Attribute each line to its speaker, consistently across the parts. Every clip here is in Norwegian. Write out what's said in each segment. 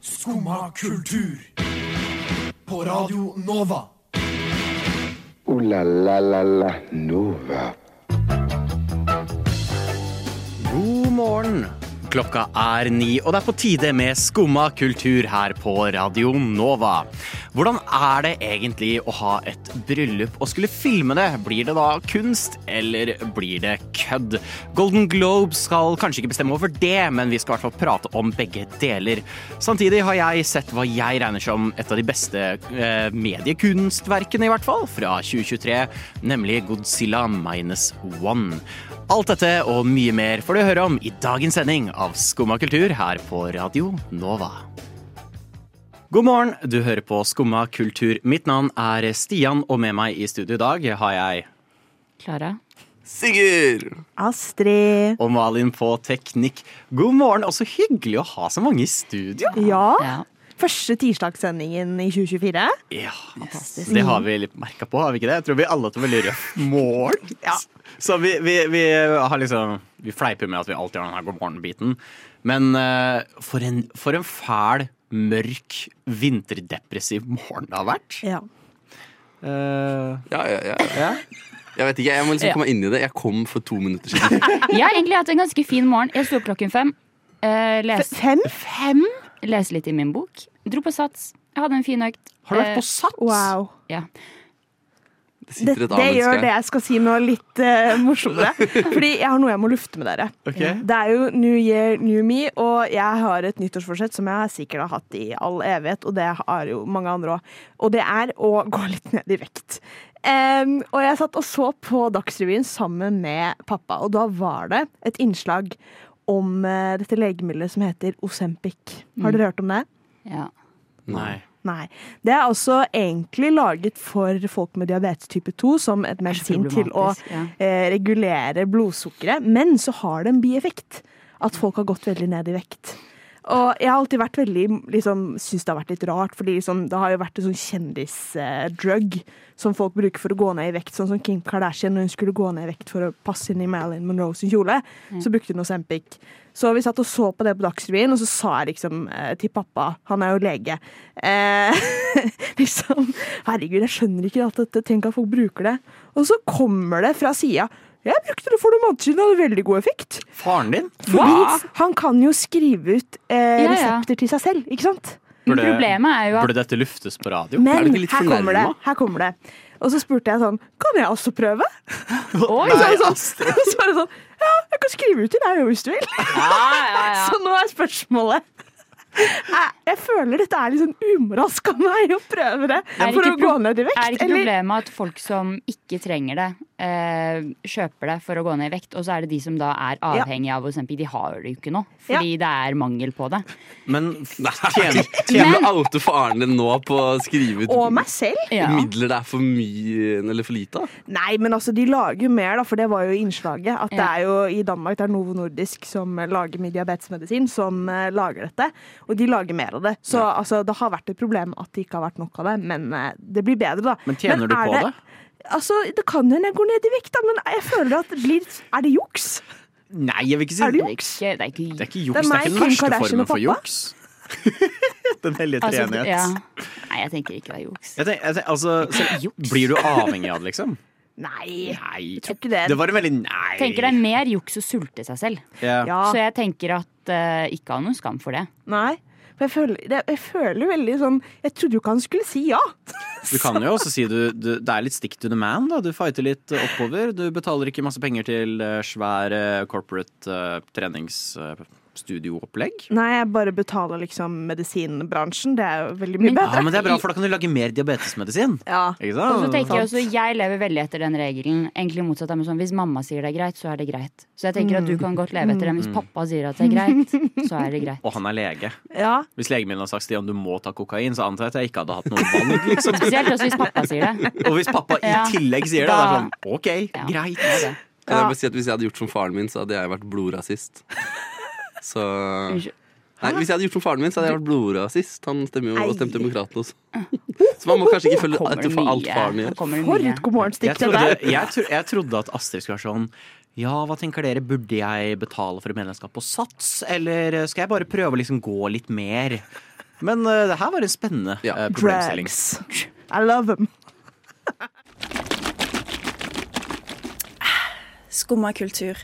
Speaker 1: Skumma kultur. På Radio Nova.
Speaker 2: Ooh la la la la Nova.
Speaker 3: God morgen. Klokka er ni, og det er på tide med Skumma kultur her på Radio Nova. Hvordan er det egentlig å ha et bryllup og skulle filme det? Blir det da kunst, eller blir det kødd? Golden Globe skal kanskje ikke bestemme over det, men vi skal i hvert fall prate om begge deler. Samtidig har jeg sett hva jeg regner som et av de beste eh, mediekunstverkene, i hvert fall, fra 2023, nemlig Godzilla minus one. Alt dette og mye mer får du høre om i dagens sending av Skumma kultur her på Radio Nova. God morgen, du hører på Skumma kultur. Mitt navn er Stian, og med meg i studio i dag har jeg
Speaker 4: Klara?
Speaker 3: Sigurd
Speaker 5: Astrid.
Speaker 3: og Malin på teknikk. God morgen, og så hyggelig å ha så mange i studio.
Speaker 5: Ja.
Speaker 4: Ja.
Speaker 5: Første tirsdagssendingen i 2024.
Speaker 3: Ja, Det har vi litt merka på, har vi ikke det? Jeg tror vi alle har hatt en veldig røff morgen. Så vi, vi, vi har liksom Vi fleiper med at vi alltid har den her god morgen-biten. Men eh, for, en, for en fæl, mørk, vinterdepressiv morgen det har vært.
Speaker 5: Ja.
Speaker 3: Eh,
Speaker 6: Ja, ja, ja. Jeg vet ikke, jeg må liksom
Speaker 4: Ja.
Speaker 6: komme inn i det. Jeg kom for to minutter siden.
Speaker 4: Jeg har egentlig hatt en ganske fin morgen. Jeg sto opp klokken fem. eh, les,
Speaker 5: Fem?
Speaker 4: fem? Leste litt i min bok. Dro på Sats. Jeg hadde en fin økt.
Speaker 3: har du vært
Speaker 4: Eh,
Speaker 3: på Sats?
Speaker 5: Wow.
Speaker 4: Ja.
Speaker 6: Det
Speaker 5: Det,
Speaker 6: sitter et
Speaker 5: det
Speaker 6: A-menneske
Speaker 5: gjør det
Speaker 6: her.
Speaker 5: jeg skal si, noe litt eh, morsommere. Fordi jeg har noe jeg må lufte med dere.
Speaker 3: Ok.
Speaker 5: Det er jo New Year, New Me, og jeg har et nyttårsforsett som jeg sikkert har hatt i all evighet, og det har jo mange andre òg. Og det er å gå litt ned i vekt. Em, og jeg satt og så på Dagsrevyen sammen med pappa, og da var det et innslag om eh, dette legemiddelet som heter Osempic. Har
Speaker 6: Mm.
Speaker 5: dere hørt om det?
Speaker 4: ja.
Speaker 3: Nei.
Speaker 5: Nei. Det er altså egentlig laget for folk med diabetes type 2 som et medisin til å
Speaker 4: problematisk, ja.
Speaker 5: eh, regulere blodsukkeret, men så har det en bieffekt. At folk har gått veldig ned i vekt. Og jeg har alltid vært veldig, liksom, syns det har vært litt rart, fordi liksom, det har jo vært en sånn kjendisdrug eh, som folk bruker for å gå ned i vekt, sånn som Kim Kardashian når hun skulle gå ned i vekt for å passe inn i Marilyn Monroe sin kjole,
Speaker 4: Mm.
Speaker 5: så brukte hun Ozempic. Så vi satt og så på det på Dagsrevyen, og så sa jeg liksom eh, til pappa, han er jo lege, eh, liksom Herregud, jeg skjønner ikke alt dette, tenk at folk bruker det. Og så kommer det fra sida. Jeg brukte det for noen måneder siden, det hadde veldig god effekt.
Speaker 3: Faren din?
Speaker 5: Fordi han kan jo skrive ut eh,
Speaker 4: Ja, ja.
Speaker 5: resepter til seg selv, ikke sant?
Speaker 3: Burde-
Speaker 4: Problemet er jo at
Speaker 3: Burde dette luftes på radio?
Speaker 6: Er
Speaker 5: Men
Speaker 6: du ikke litt
Speaker 5: her kommer det.
Speaker 6: fornærmet?
Speaker 5: her kommer det. Og så spurte jeg sånn Kan jeg også prøve?
Speaker 4: Oi!
Speaker 5: Og så er det sånn, og så er det sånn Ja, jeg kan skrive ut til deg hvis du vil. Så nå er spørsmålet Jeg, jeg føler dette er litt sånn umoralsk av meg å prøve det
Speaker 4: Er det
Speaker 5: for å
Speaker 4: ikke
Speaker 5: gå
Speaker 4: pro-
Speaker 5: ned i vekt.
Speaker 4: Er ikke
Speaker 5: eller-
Speaker 4: problemet at folk som ikke trenger det, eh, kjøper det for å gå ned i vekt, og så er det de som da er avhengige av Ozempic, de har det jo ikke nå, fordi det er mangel på det.
Speaker 3: Men tjener, tjener,
Speaker 6: Tjener å oute faren din nå på å skrive ut
Speaker 5: og meg selv?
Speaker 4: Ja.
Speaker 6: midler det er for mye eller for lite av?
Speaker 5: Nei, men altså, de lager jo mer, da, for det var jo i innslaget. At det
Speaker 4: Ja.
Speaker 5: er jo i Danmark det er Novo Nordisk som eh, lager med diabetesmedisin, som eh, lager dette. Og de lager mer av det. Så altså, det har vært et problem at det ikke har vært nok av det, men eh, det blir bedre, da.
Speaker 3: Men tjener du
Speaker 5: er
Speaker 3: på det?
Speaker 5: Altså, Det kan hende jeg går ned i vekt, da, men jeg føler at det blir Er det juks?
Speaker 3: nei, jeg vil ikke si
Speaker 5: Er det
Speaker 4: Det er
Speaker 5: juks?
Speaker 4: ikke, det er ikke,
Speaker 3: Det er ikke
Speaker 5: Det
Speaker 3: juks.
Speaker 5: er
Speaker 3: Det er
Speaker 5: meg,
Speaker 3: ikke den
Speaker 5: Kim
Speaker 3: verste
Speaker 5: Kardashian
Speaker 3: formen
Speaker 5: og
Speaker 3: for
Speaker 5: pappa.
Speaker 3: juks. Den hellige
Speaker 4: altså,
Speaker 3: treenighet.
Speaker 4: ja. Nei, jeg tenker ikke det er juks.
Speaker 3: Jeg tenker, jeg tenker, altså, så,
Speaker 4: Juks.
Speaker 3: blir du avhengig av det, liksom?
Speaker 5: Nei.
Speaker 3: Nei.
Speaker 5: tror ikke det.
Speaker 3: Det var en veldig nei.
Speaker 4: tenker det er mer juks å sulte seg selv.
Speaker 3: Ja.
Speaker 5: Ja.
Speaker 4: Så jeg tenker at eh, ikke ha noen skam for det.
Speaker 5: Nei. For jeg føler, det, jeg føler veldig sånn Jeg trodde jo ikke han skulle si ja.
Speaker 3: Du kan jo også si du, du det er litt stick to the man. da Du fighter litt eh, oppover. Du betaler ikke masse penger til eh, svær eh, corporate eh, treningsstudioopplegg.
Speaker 5: Nei, jeg bare betaler liksom medisinbransjen. Det er jo veldig
Speaker 4: Men-
Speaker 5: mye
Speaker 3: Ja,
Speaker 5: bedre.
Speaker 3: men det er bra, for da kan du lage mer diabetesmedisin.
Speaker 5: Ja.
Speaker 3: Ikke
Speaker 4: Og så
Speaker 3: sant?
Speaker 4: tenker Jeg også, jeg lever veldig etter den regelen. Egentlig motsatt av meg sånn, Hvis mamma sier det er greit, så er det greit. Så jeg tenker at du kan godt leve etter den.
Speaker 6: Mm.
Speaker 4: Hvis pappa sier at det er greit, så er det greit.
Speaker 3: Og han er lege.
Speaker 5: Ja.
Speaker 3: Hvis legen min hadde sagt Stian, du må ta kokain, så antar jeg at jeg ikke hadde hatt noe valg. Liksom.
Speaker 4: Spesielt også hvis pappa sier det.
Speaker 3: Og hvis pappa i
Speaker 4: Ja.
Speaker 3: tillegg sier det, da er
Speaker 4: Da-
Speaker 3: det sånn OK,
Speaker 4: Ja,
Speaker 3: greit.
Speaker 4: det er det.
Speaker 6: Kan jeg bare si at Hvis jeg hadde gjort som faren min, så hadde jeg vært blodrasist. Så
Speaker 4: Unnskyld.
Speaker 6: Nei, Hvis jeg hadde gjort som faren min, så hadde jeg vært blodrasist. Han stemmer jo
Speaker 5: Ei.
Speaker 6: og stemte demokratene også. Så man må kanskje ikke følge
Speaker 4: Kommer
Speaker 6: etter
Speaker 4: det
Speaker 6: for alt
Speaker 4: mye?
Speaker 6: faren gjør.
Speaker 4: Kommer det
Speaker 5: For
Speaker 4: mye?
Speaker 5: et god morgen-stikk
Speaker 3: Jeg
Speaker 5: det
Speaker 3: trodde,
Speaker 5: der.
Speaker 3: jeg, tro, jeg trodde at Astrid skulle være sånn Ja, hva tenker dere? Burde jeg betale for et medlemskap på Sats? Eller skal jeg bare prøve å liksom gå litt mer? Men eh, det her var en spennende
Speaker 6: Ja.
Speaker 3: eh, problemstilling.
Speaker 5: Drugs. I love them.
Speaker 7: Skumma kultur.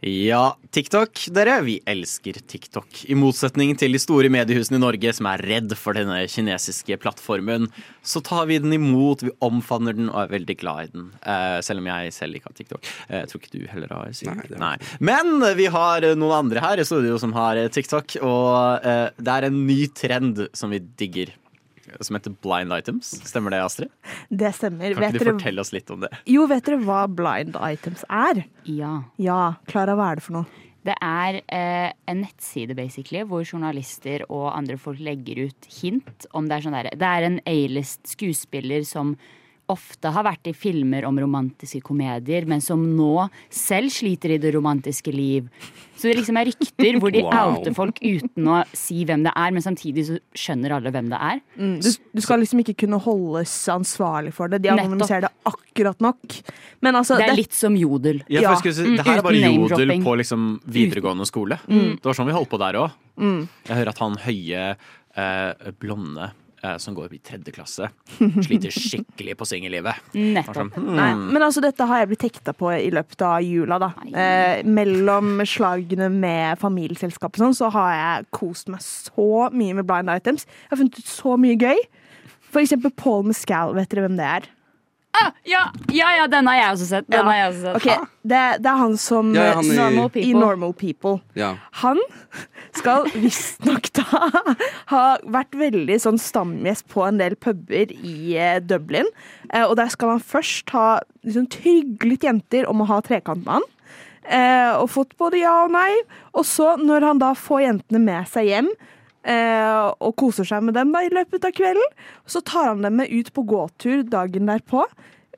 Speaker 3: Ja, TikTok, dere. Vi elsker TikTok. I motsetning til de store mediehusene i Norge som er redd for denne kinesiske plattformen, så tar vi den imot, vi omfavner den og er veldig glad i den. Eh, selv om jeg selv ikke har TikTok. Eh, jeg tror ikke du heller har. Sigurd.
Speaker 6: Nei, det har jeg
Speaker 3: Nei. Men vi har eh, noen andre her i studio som har eh, TikTok, og eh, det er en ny trend som vi digger. eh, Som heter blind items. Stemmer det, Astrid?
Speaker 5: Det stemmer.
Speaker 3: Kan
Speaker 5: Vet
Speaker 3: ikke du
Speaker 5: dere,
Speaker 3: fortelle oss litt om det?
Speaker 5: jo, vet dere hva blind items er?
Speaker 4: Ja.
Speaker 5: Ja, Klara, hva er det for noe?
Speaker 4: Det er eh, en nettside basically, hvor journalister og andre folk legger ut hint. om Det er sånn der, Det er en A-list skuespiller som ofte har vært i filmer om romantiske komedier, men som nå selv sliter i det romantiske liv. Så det liksom er rykter hvor de
Speaker 6: Wow.
Speaker 4: outer folk uten å si hvem det er, men samtidig så skjønner alle hvem det er.
Speaker 3: Mm.
Speaker 5: Du, du skal liksom ikke kunne holdes ansvarlig for det. De
Speaker 4: Nettopp.
Speaker 5: anonymiserer det akkurat nok. Men altså,
Speaker 4: Det er
Speaker 5: det-
Speaker 4: litt som jodel.
Speaker 3: Ja, for jeg skulle si, det her er
Speaker 4: Mm, uten
Speaker 3: bare jodel
Speaker 4: name-dropping. Mm.
Speaker 3: på liksom videregående skole. Det var sånn vi holdt på der òg. Jeg hører at han høye, eh, blonde eh, som går i tredje klasse, sliter skikkelig på singellivet.
Speaker 4: Nettopp.
Speaker 5: Nei, men altså, dette har jeg blitt hekta på i løpet av jula, da. Eh, mellom slagene med familieselskap og sånn, så har jeg kost meg så mye med blind items. Jeg har funnet ut så mye gøy. For eksempel Paul Mescal, vet dere hvem det er?
Speaker 4: Ah, Ja, ja, ja, den har jeg også sett. Den har jeg også sett.
Speaker 5: Ok, det, det er han som
Speaker 6: Ja, ja, han i-
Speaker 5: Normal
Speaker 6: Normal
Speaker 5: People.
Speaker 4: People.
Speaker 5: i Normal People.
Speaker 6: Ja.
Speaker 5: Han skal visstnok da ha vært veldig sånn stamgjest på en del puber i eh, Dublin. Eh, Og der skal han først ha liksom tryglet jenter om å ha trekant med han. Eh, Og fått både ja og nei. Og så, når han da får jentene med seg hjem, eh, og koser seg med dem da i løpet av kvelden, så tar han dem med ut på gåtur dagen derpå.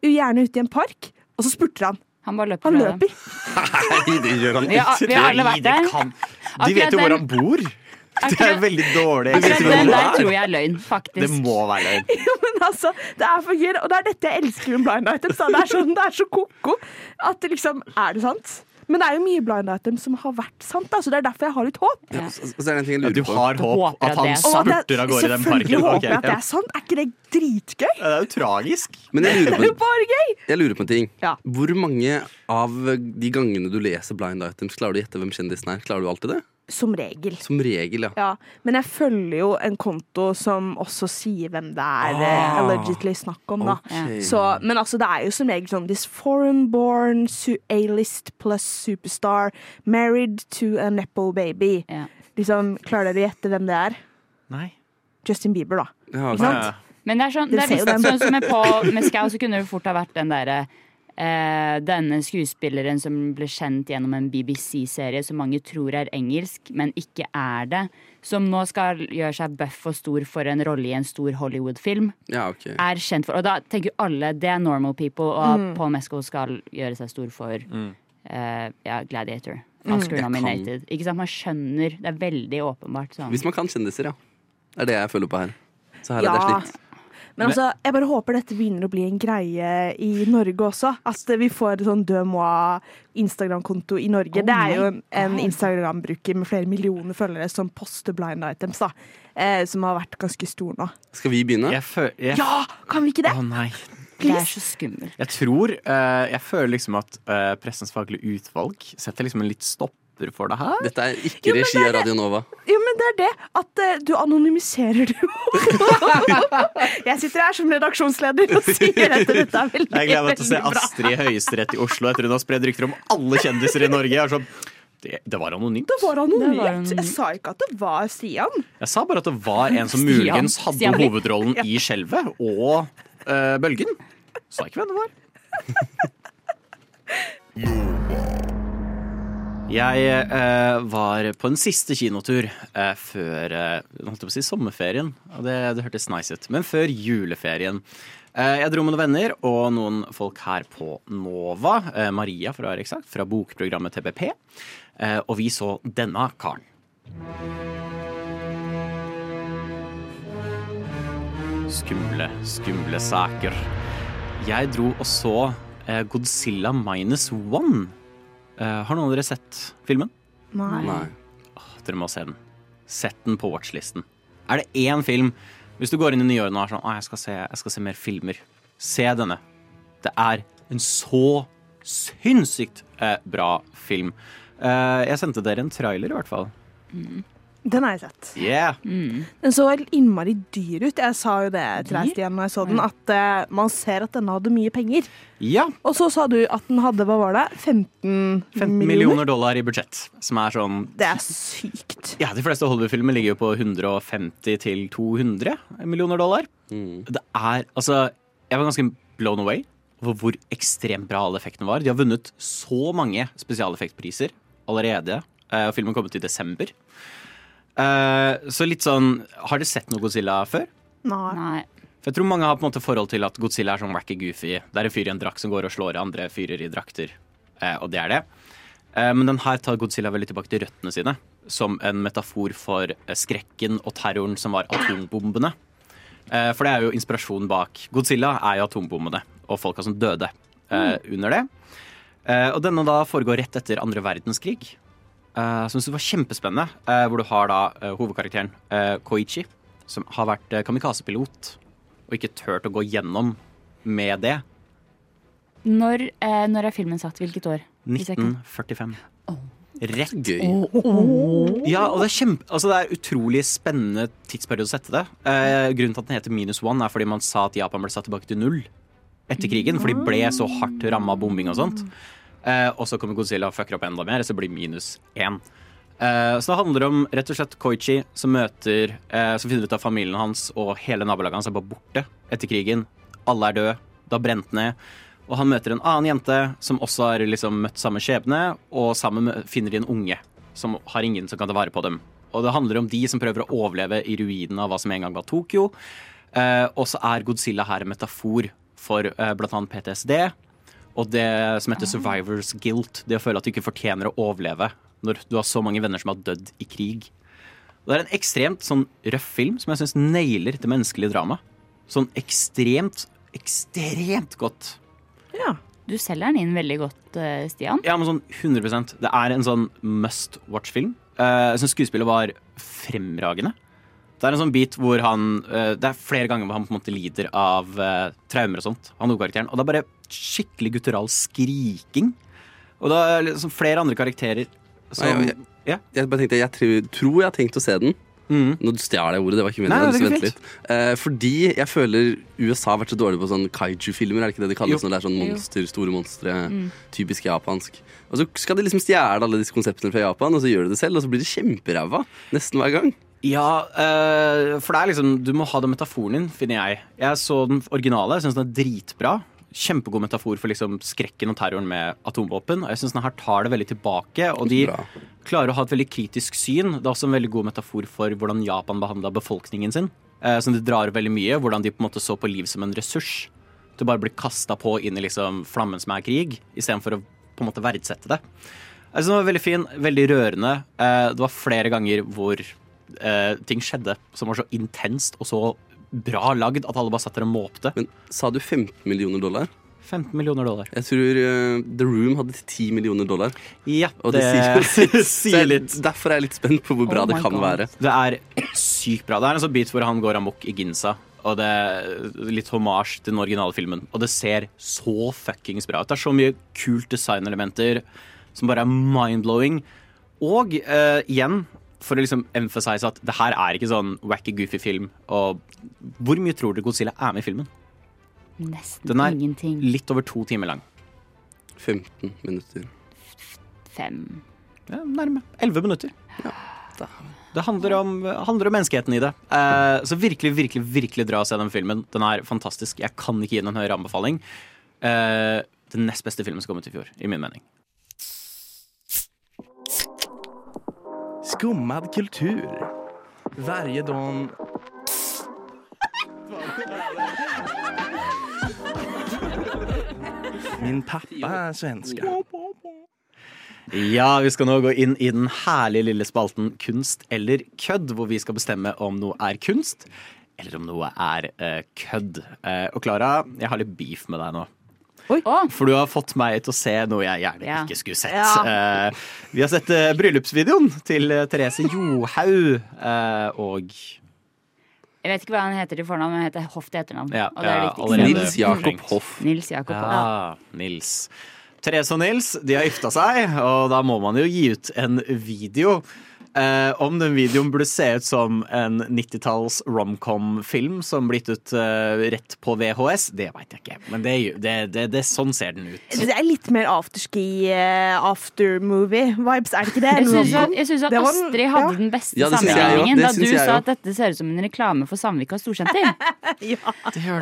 Speaker 5: Gjerne ute i en park. Og så spurter han.
Speaker 4: Han bare løper
Speaker 5: Han
Speaker 4: fra dem.
Speaker 5: løper.
Speaker 6: Nei, det gjør han
Speaker 4: Vi har, vi har alle
Speaker 3: Nei,
Speaker 4: vært
Speaker 3: de,
Speaker 4: der.
Speaker 3: kan, de vet jo
Speaker 4: Akkurat
Speaker 3: hvor
Speaker 4: den-
Speaker 3: han bor! Det er
Speaker 4: Akkurat-
Speaker 3: veldig dårlig.
Speaker 4: Akkurat
Speaker 6: vet
Speaker 4: den
Speaker 6: du hva
Speaker 4: der
Speaker 6: det er?
Speaker 4: tror jeg er løgn, faktisk.
Speaker 3: Det må være løgn.
Speaker 5: Jo, men altså, det er for gøy, og det er dette jeg elsker med blind items. da. Det er, sånn, det er så ko-ko at det liksom Er det sant? Men det er jo mye blind items som har vært sant, da, så det er derfor jeg har litt håp.
Speaker 6: Ja, så, så er det en ting jeg
Speaker 3: Du
Speaker 6: lurer på.
Speaker 3: har håp
Speaker 4: Håper
Speaker 3: at han
Speaker 4: at det er
Speaker 5: Og at jeg
Speaker 3: spurter av gårde i den parken.
Speaker 5: selvfølgelig håper
Speaker 3: Ok,
Speaker 5: jeg at det
Speaker 3: ja.
Speaker 5: er sant. Er ikke det dritgøy?
Speaker 3: Det er jo tragisk.
Speaker 6: Men jeg
Speaker 5: Det er
Speaker 6: lurer
Speaker 5: jo
Speaker 6: på,
Speaker 5: bare gøy!
Speaker 6: jeg lurer på en ting.
Speaker 5: Ja.
Speaker 6: Hvor mange av de gangene du leser Blind Items, klarer du å gjette hvem kjendisen er? Klarer du alltid det?
Speaker 5: Som regel.
Speaker 6: Som regel, ja.
Speaker 5: Ja, Men jeg følger jo en konto som også sier hvem det er
Speaker 3: Ah,
Speaker 5: eh, allegedly snakk om, da.
Speaker 6: Ok.
Speaker 5: Så, men altså, det er jo som regel sånn This foreign born su- A-list plus superstar married to a nepo baby.
Speaker 4: Ja.
Speaker 5: Liksom, Klarer dere å gjette hvem det er?
Speaker 3: Nei.
Speaker 5: Justin Bieber, da.
Speaker 6: Ja,
Speaker 3: Eh,
Speaker 6: ok.
Speaker 5: sant?
Speaker 4: Men det er sånn, det
Speaker 5: Dere
Speaker 4: er
Speaker 5: ser jo
Speaker 4: visst,
Speaker 5: dem.
Speaker 4: sånn som med Paul Mescal, så kunne det fort ha vært den derre eh, denne skuespilleren som ble kjent gjennom en BBC-serie som mange tror er engelsk, men ikke er det. Som nå skal gjøre seg bøff og stor for en rolle i en stor Hollywood-film.
Speaker 6: Ja, ok.
Speaker 4: Er kjent for Og da tenker jo alle det er normal people, og Paul Mescal skal gjøre seg stor for
Speaker 3: Mm.
Speaker 4: eh, ja, Gladiator. Oscar nominated. Ikke sant? Man skjønner. Det er veldig åpenbart. Sånn.
Speaker 6: Hvis man kan kjendiser, ja. Det er det jeg føler på her. Så her er det
Speaker 5: Ja.
Speaker 6: slikt.
Speaker 5: Men altså, jeg bare håper dette begynner å bli en greie i Norge også. At vi får en sånn De Moi Instagram-konto i Norge.
Speaker 4: Oh
Speaker 5: det er jo
Speaker 4: my
Speaker 5: en
Speaker 4: God.
Speaker 5: Instagram-bruker med flere millioner følgere som poster blind items, da. Eh, som har vært ganske stor nå.
Speaker 6: Skal vi begynne?
Speaker 3: Jeg føler jeg...
Speaker 5: Ja, kan vi ikke det?
Speaker 3: Å nei.
Speaker 4: Det er så skummelt.
Speaker 3: Jeg tror eh, Jeg føler liksom at eh, Pressens faglige utvalg setter liksom en litt stopper for det her.
Speaker 6: Dette er ikke regi av Radio Nova.
Speaker 5: Jo, men det er det at eh, du anonymiserer det jo. jeg sitter her som redaksjonsleder og sier at dette er veldig,
Speaker 3: Jeg gleder meg til å se
Speaker 5: veldig bra.
Speaker 3: Astrid i Høyesterett i Oslo etter hun har spredd rykter om alle kjendiser i Norge. Jeg er sånn, det, det var anonymt.
Speaker 5: Det var
Speaker 4: Det var
Speaker 5: anonymt.
Speaker 4: anonymt.
Speaker 5: Jeg sa ikke at det var Stian.
Speaker 3: Jeg sa bare at det var en som
Speaker 4: Stian.
Speaker 3: muligens hadde
Speaker 4: Stian Blipp.
Speaker 3: hovedrollen i Skjelvet og eh, Bølgen. Sa ikke hvem det var. Jeg eh, var på en siste kinotur eh, før eh, holdt jeg på å si sommerferien. Og det, det hørtes nice ut. Men før juleferien. Eh, jeg dro med noen venner og noen folk her på Nova. Eh, Maria, for å være eksakt, fra bokprogrammet TPP. Eh, og vi så denne karen. Skumle, skumle saker. Jeg dro og så eh, Godzilla minus one. Eh, Har noen av dere sett filmen?
Speaker 6: Nei.
Speaker 3: Dere må se den. Sett den på watchlisten. Er det én film Hvis du går inn i nyåret og er sånn Å, jeg skal, se, jeg skal se mer filmer. Se denne. Det er en så sinnssykt eh, bra film. Eh, jeg sendte dere en trailer, i hvert fall.
Speaker 5: Den har jeg sett.
Speaker 3: Yeah!
Speaker 5: Den så helt innmari dyr ut. Jeg sa jo det til deg, Stian, når jeg så den, at eh, man ser at den hadde mye penger.
Speaker 3: Ja!
Speaker 5: Og så sa du at den hadde, hva var det, 15,
Speaker 3: 15 millioner dollar i budsjett, som er sånn
Speaker 5: Det er sykt.
Speaker 3: Ja, de fleste Hollywood-filmer ligger jo på 150 til 200 millioner dollar. Det er Altså, jeg var ganske blown away over hvor ekstremt bra alle effektene var. De har vunnet så mange spesialeffektpriser allerede. eh, Og filmen kom ut i desember. Eh, Så litt sånn Har dere sett noe Godzilla før?
Speaker 5: Nei.
Speaker 4: Nei.
Speaker 3: For jeg tror mange har på en måte forhold til at Godzilla er sånn wacky goofy. Det er en fyr i en drakt som går og slår andre fyrer i drakter. Eh, og det er det. Eh, men den her tar Godzilla veldig tilbake til røttene sine. Som en metafor for eh, skrekken og terroren som var atombombene. Eh, for det er jo inspirasjonen bak. Godzilla er jo atombombene og folka som døde eh, under det. Eh, og denne da foregår rett etter andre verdenskrig. Eh, som jeg synes var kjempespennende. Eh, hvor du har da eh, hovedkarakteren eh, Koichi, som har vært eh, kamikazepilot og ikke turt å gå gjennom med det.
Speaker 4: Når, eh, når er filmen satt? Hvilket år? Hvis jeg kan-
Speaker 3: 1945. Rett.
Speaker 6: Gøy.
Speaker 3: Ja, og det er, kjempe, altså det er utrolig spennende tidsperiode å sette det. Eh, grunnen til at den heter minus one, er fordi man sa at Japan ble satt tilbake til null etter krigen. For de ble så hardt ramma av bombing og sånt. Eh, og så kommer Godzilla og fucker opp enda mer, så det blir minus én. Eh, så det handler om rett og slett Koichi som møter eh, Som finner ut at familien hans og hele nabolaget hans er bare borte etter krigen. Alle er døde. Det har brent ned. Og han møter en annen jente som også har liksom møtt samme skjebne, og sammen mø- finner de en unge som har ingen som kan ta vare på dem. Og det handler om de som prøver å overleve i ruinene av hva som en gang var Tokyo. Eh, og så er Godzilla her en metafor for eh, bl.a. PTSD og det som heter survivors guilt. Det å føle at du ikke fortjener å overleve når du har så mange venner som har dødd i krig. Og det er en ekstremt sånn røff film som jeg syns nailer det menneskelige dramaet. Sånn ekstremt, ekstremt godt.
Speaker 5: Ja.
Speaker 4: Du selger den inn veldig godt, eh, Stian.
Speaker 3: Ja, men sånn 100 Det er en sånn must watch-film. Eh, jeg syns skuespillet var fremragende. Det er en sånn bit hvor han eh, Det er flere ganger hvor han på en måte lider av eh, traumer og sånt. Han hovedkarakteren. Og det er bare skikkelig guttural skriking. Og det er liksom flere andre karakterer som
Speaker 6: Nei, jeg- Jeg bare tenkte, jeg tri- tror jeg har tenkt å se den.
Speaker 3: Mhm.
Speaker 6: Nå stjal jeg ordet. det var ikke meningen,
Speaker 3: Nei,
Speaker 6: jeg hadde
Speaker 3: det er
Speaker 6: lyst til å
Speaker 3: ikke
Speaker 6: vente litt. Eh, Fordi jeg føler USA har vært så dårlig på sånn kaiju-filmer. Er det ikke det de kalles
Speaker 3: Jo.
Speaker 6: når det er sånn monster, store monstre?
Speaker 4: Mm.
Speaker 6: Typisk japansk. Og så skal de liksom stjele alle disse konseptene fra Japan, og så gjør de det selv, og så blir de kjemperæva nesten hver gang.
Speaker 3: Ja, eh, for det er liksom Du må ha den metaforen din, finner jeg. Jeg så den originale, jeg syns den er dritbra. Kjempegod metafor for liksom skrekken og terroren med atomvåpen. Og jeg syns den her tar det veldig tilbake. Og de
Speaker 6: Bra.
Speaker 3: klarer å ha et veldig kritisk syn. Det er også en veldig god metafor for hvordan Japan behandla befolkningen sin. eh, Som de drar veldig mye. Hvordan de på en måte så på liv som en ressurs. Du bare blir kasta på inn i liksom flammen som er krig, istedenfor å på en måte verdsette det. Jeg synes den var veldig fin, veldig rørende. Eh, Det var flere ganger hvor eh, ting skjedde som var så intenst og så bra lagd at alle bare satt der og måpte.
Speaker 6: Men sa du 15 millioner dollar?
Speaker 3: 15 millioner dollar.
Speaker 6: Jeg tror eh, The Room hadde 10 millioner dollar.
Speaker 3: Ja,
Speaker 6: Og
Speaker 3: det,
Speaker 6: det, sier
Speaker 3: sier
Speaker 6: jo Så jeg-
Speaker 3: litt.
Speaker 6: Derfor er jeg litt spent på hvor bra
Speaker 4: Oh
Speaker 6: det
Speaker 4: my
Speaker 6: kan
Speaker 4: God.
Speaker 6: være.
Speaker 3: Det er sykt bra. Det er en sånn bit hvor han går amok i Ginza. Og det er litt hommage til den originale filmen. Og det ser så fuckings bra ut. Det er så mye kult designelementer som bare er mind-blowing. Og eh, igjen, for å liksom emphasize at det her er ikke sånn wacky, goofy film. Og hvor mye tror dere Godzilla er med i filmen?
Speaker 4: Nesten
Speaker 3: Den er
Speaker 4: ingenting.
Speaker 3: litt over to timer lang.
Speaker 6: 15 minutter.
Speaker 4: Fem.
Speaker 3: Ja, nærme. Elleve minutter. Det handler om, handler om menneskeheten i det. Eh, så virkelig, virkelig, virkelig dra og se den filmen. Den er fantastisk. Jeg kan ikke gi den en høyere anbefaling. Eh, den nest beste filmen som kom ut i fjor, i min mening.
Speaker 7: Skummad kultur. Varje dag... Min pappa är svenska.
Speaker 3: Ja, vi skal nå gå inn i den herlige lille spalten Kunst eller kødd, hvor vi skal bestemme om noe er kunst, eller om noe er eh, kødd. Eh, og Klara, jeg har litt beef med deg nå.
Speaker 4: Å!
Speaker 3: For du har fått meg til å se noe jeg gjerne
Speaker 4: Ja.
Speaker 3: ikke skulle sett.
Speaker 5: Ja.
Speaker 3: Eh, vi har sett eh, bryllupsvideoen til eh, Therese Johaug eh, og
Speaker 4: Jeg vet ikke hva han heter til fornavn, men han heter Hoff til etternavn.
Speaker 3: Ja,
Speaker 4: og det er det
Speaker 3: ja,
Speaker 4: viktigste.
Speaker 3: allerede
Speaker 6: Nils Jakob
Speaker 3: fortrengt.
Speaker 6: Hoff.
Speaker 4: Nils Jakob. Hoff.
Speaker 3: Ja, Nils. Therese og Nils de har gifta seg, og da må man jo gi ut en video. Eh, om den videoen burde se ut som en 90-talls romcom-film som ble gitt ut eh, rett på VHS, det veit jeg ikke. Men det, er jo- det, det, det, sånn ser den ut.
Speaker 5: Det er litt mer afterski, eh, aftermovie-vibes, er det ikke det?
Speaker 4: Jeg syns
Speaker 5: Eller noe
Speaker 4: at,
Speaker 5: sånt?
Speaker 4: jeg synes at
Speaker 5: Det var den-
Speaker 4: Astrid hadde
Speaker 5: ja.
Speaker 4: den beste
Speaker 6: Ja, det synes jeg jo.
Speaker 4: sammenligningen
Speaker 6: Det
Speaker 4: da du
Speaker 6: synes jeg
Speaker 4: sa
Speaker 6: jo.
Speaker 4: at dette ser ut som en reklame for Sandvika storsenter.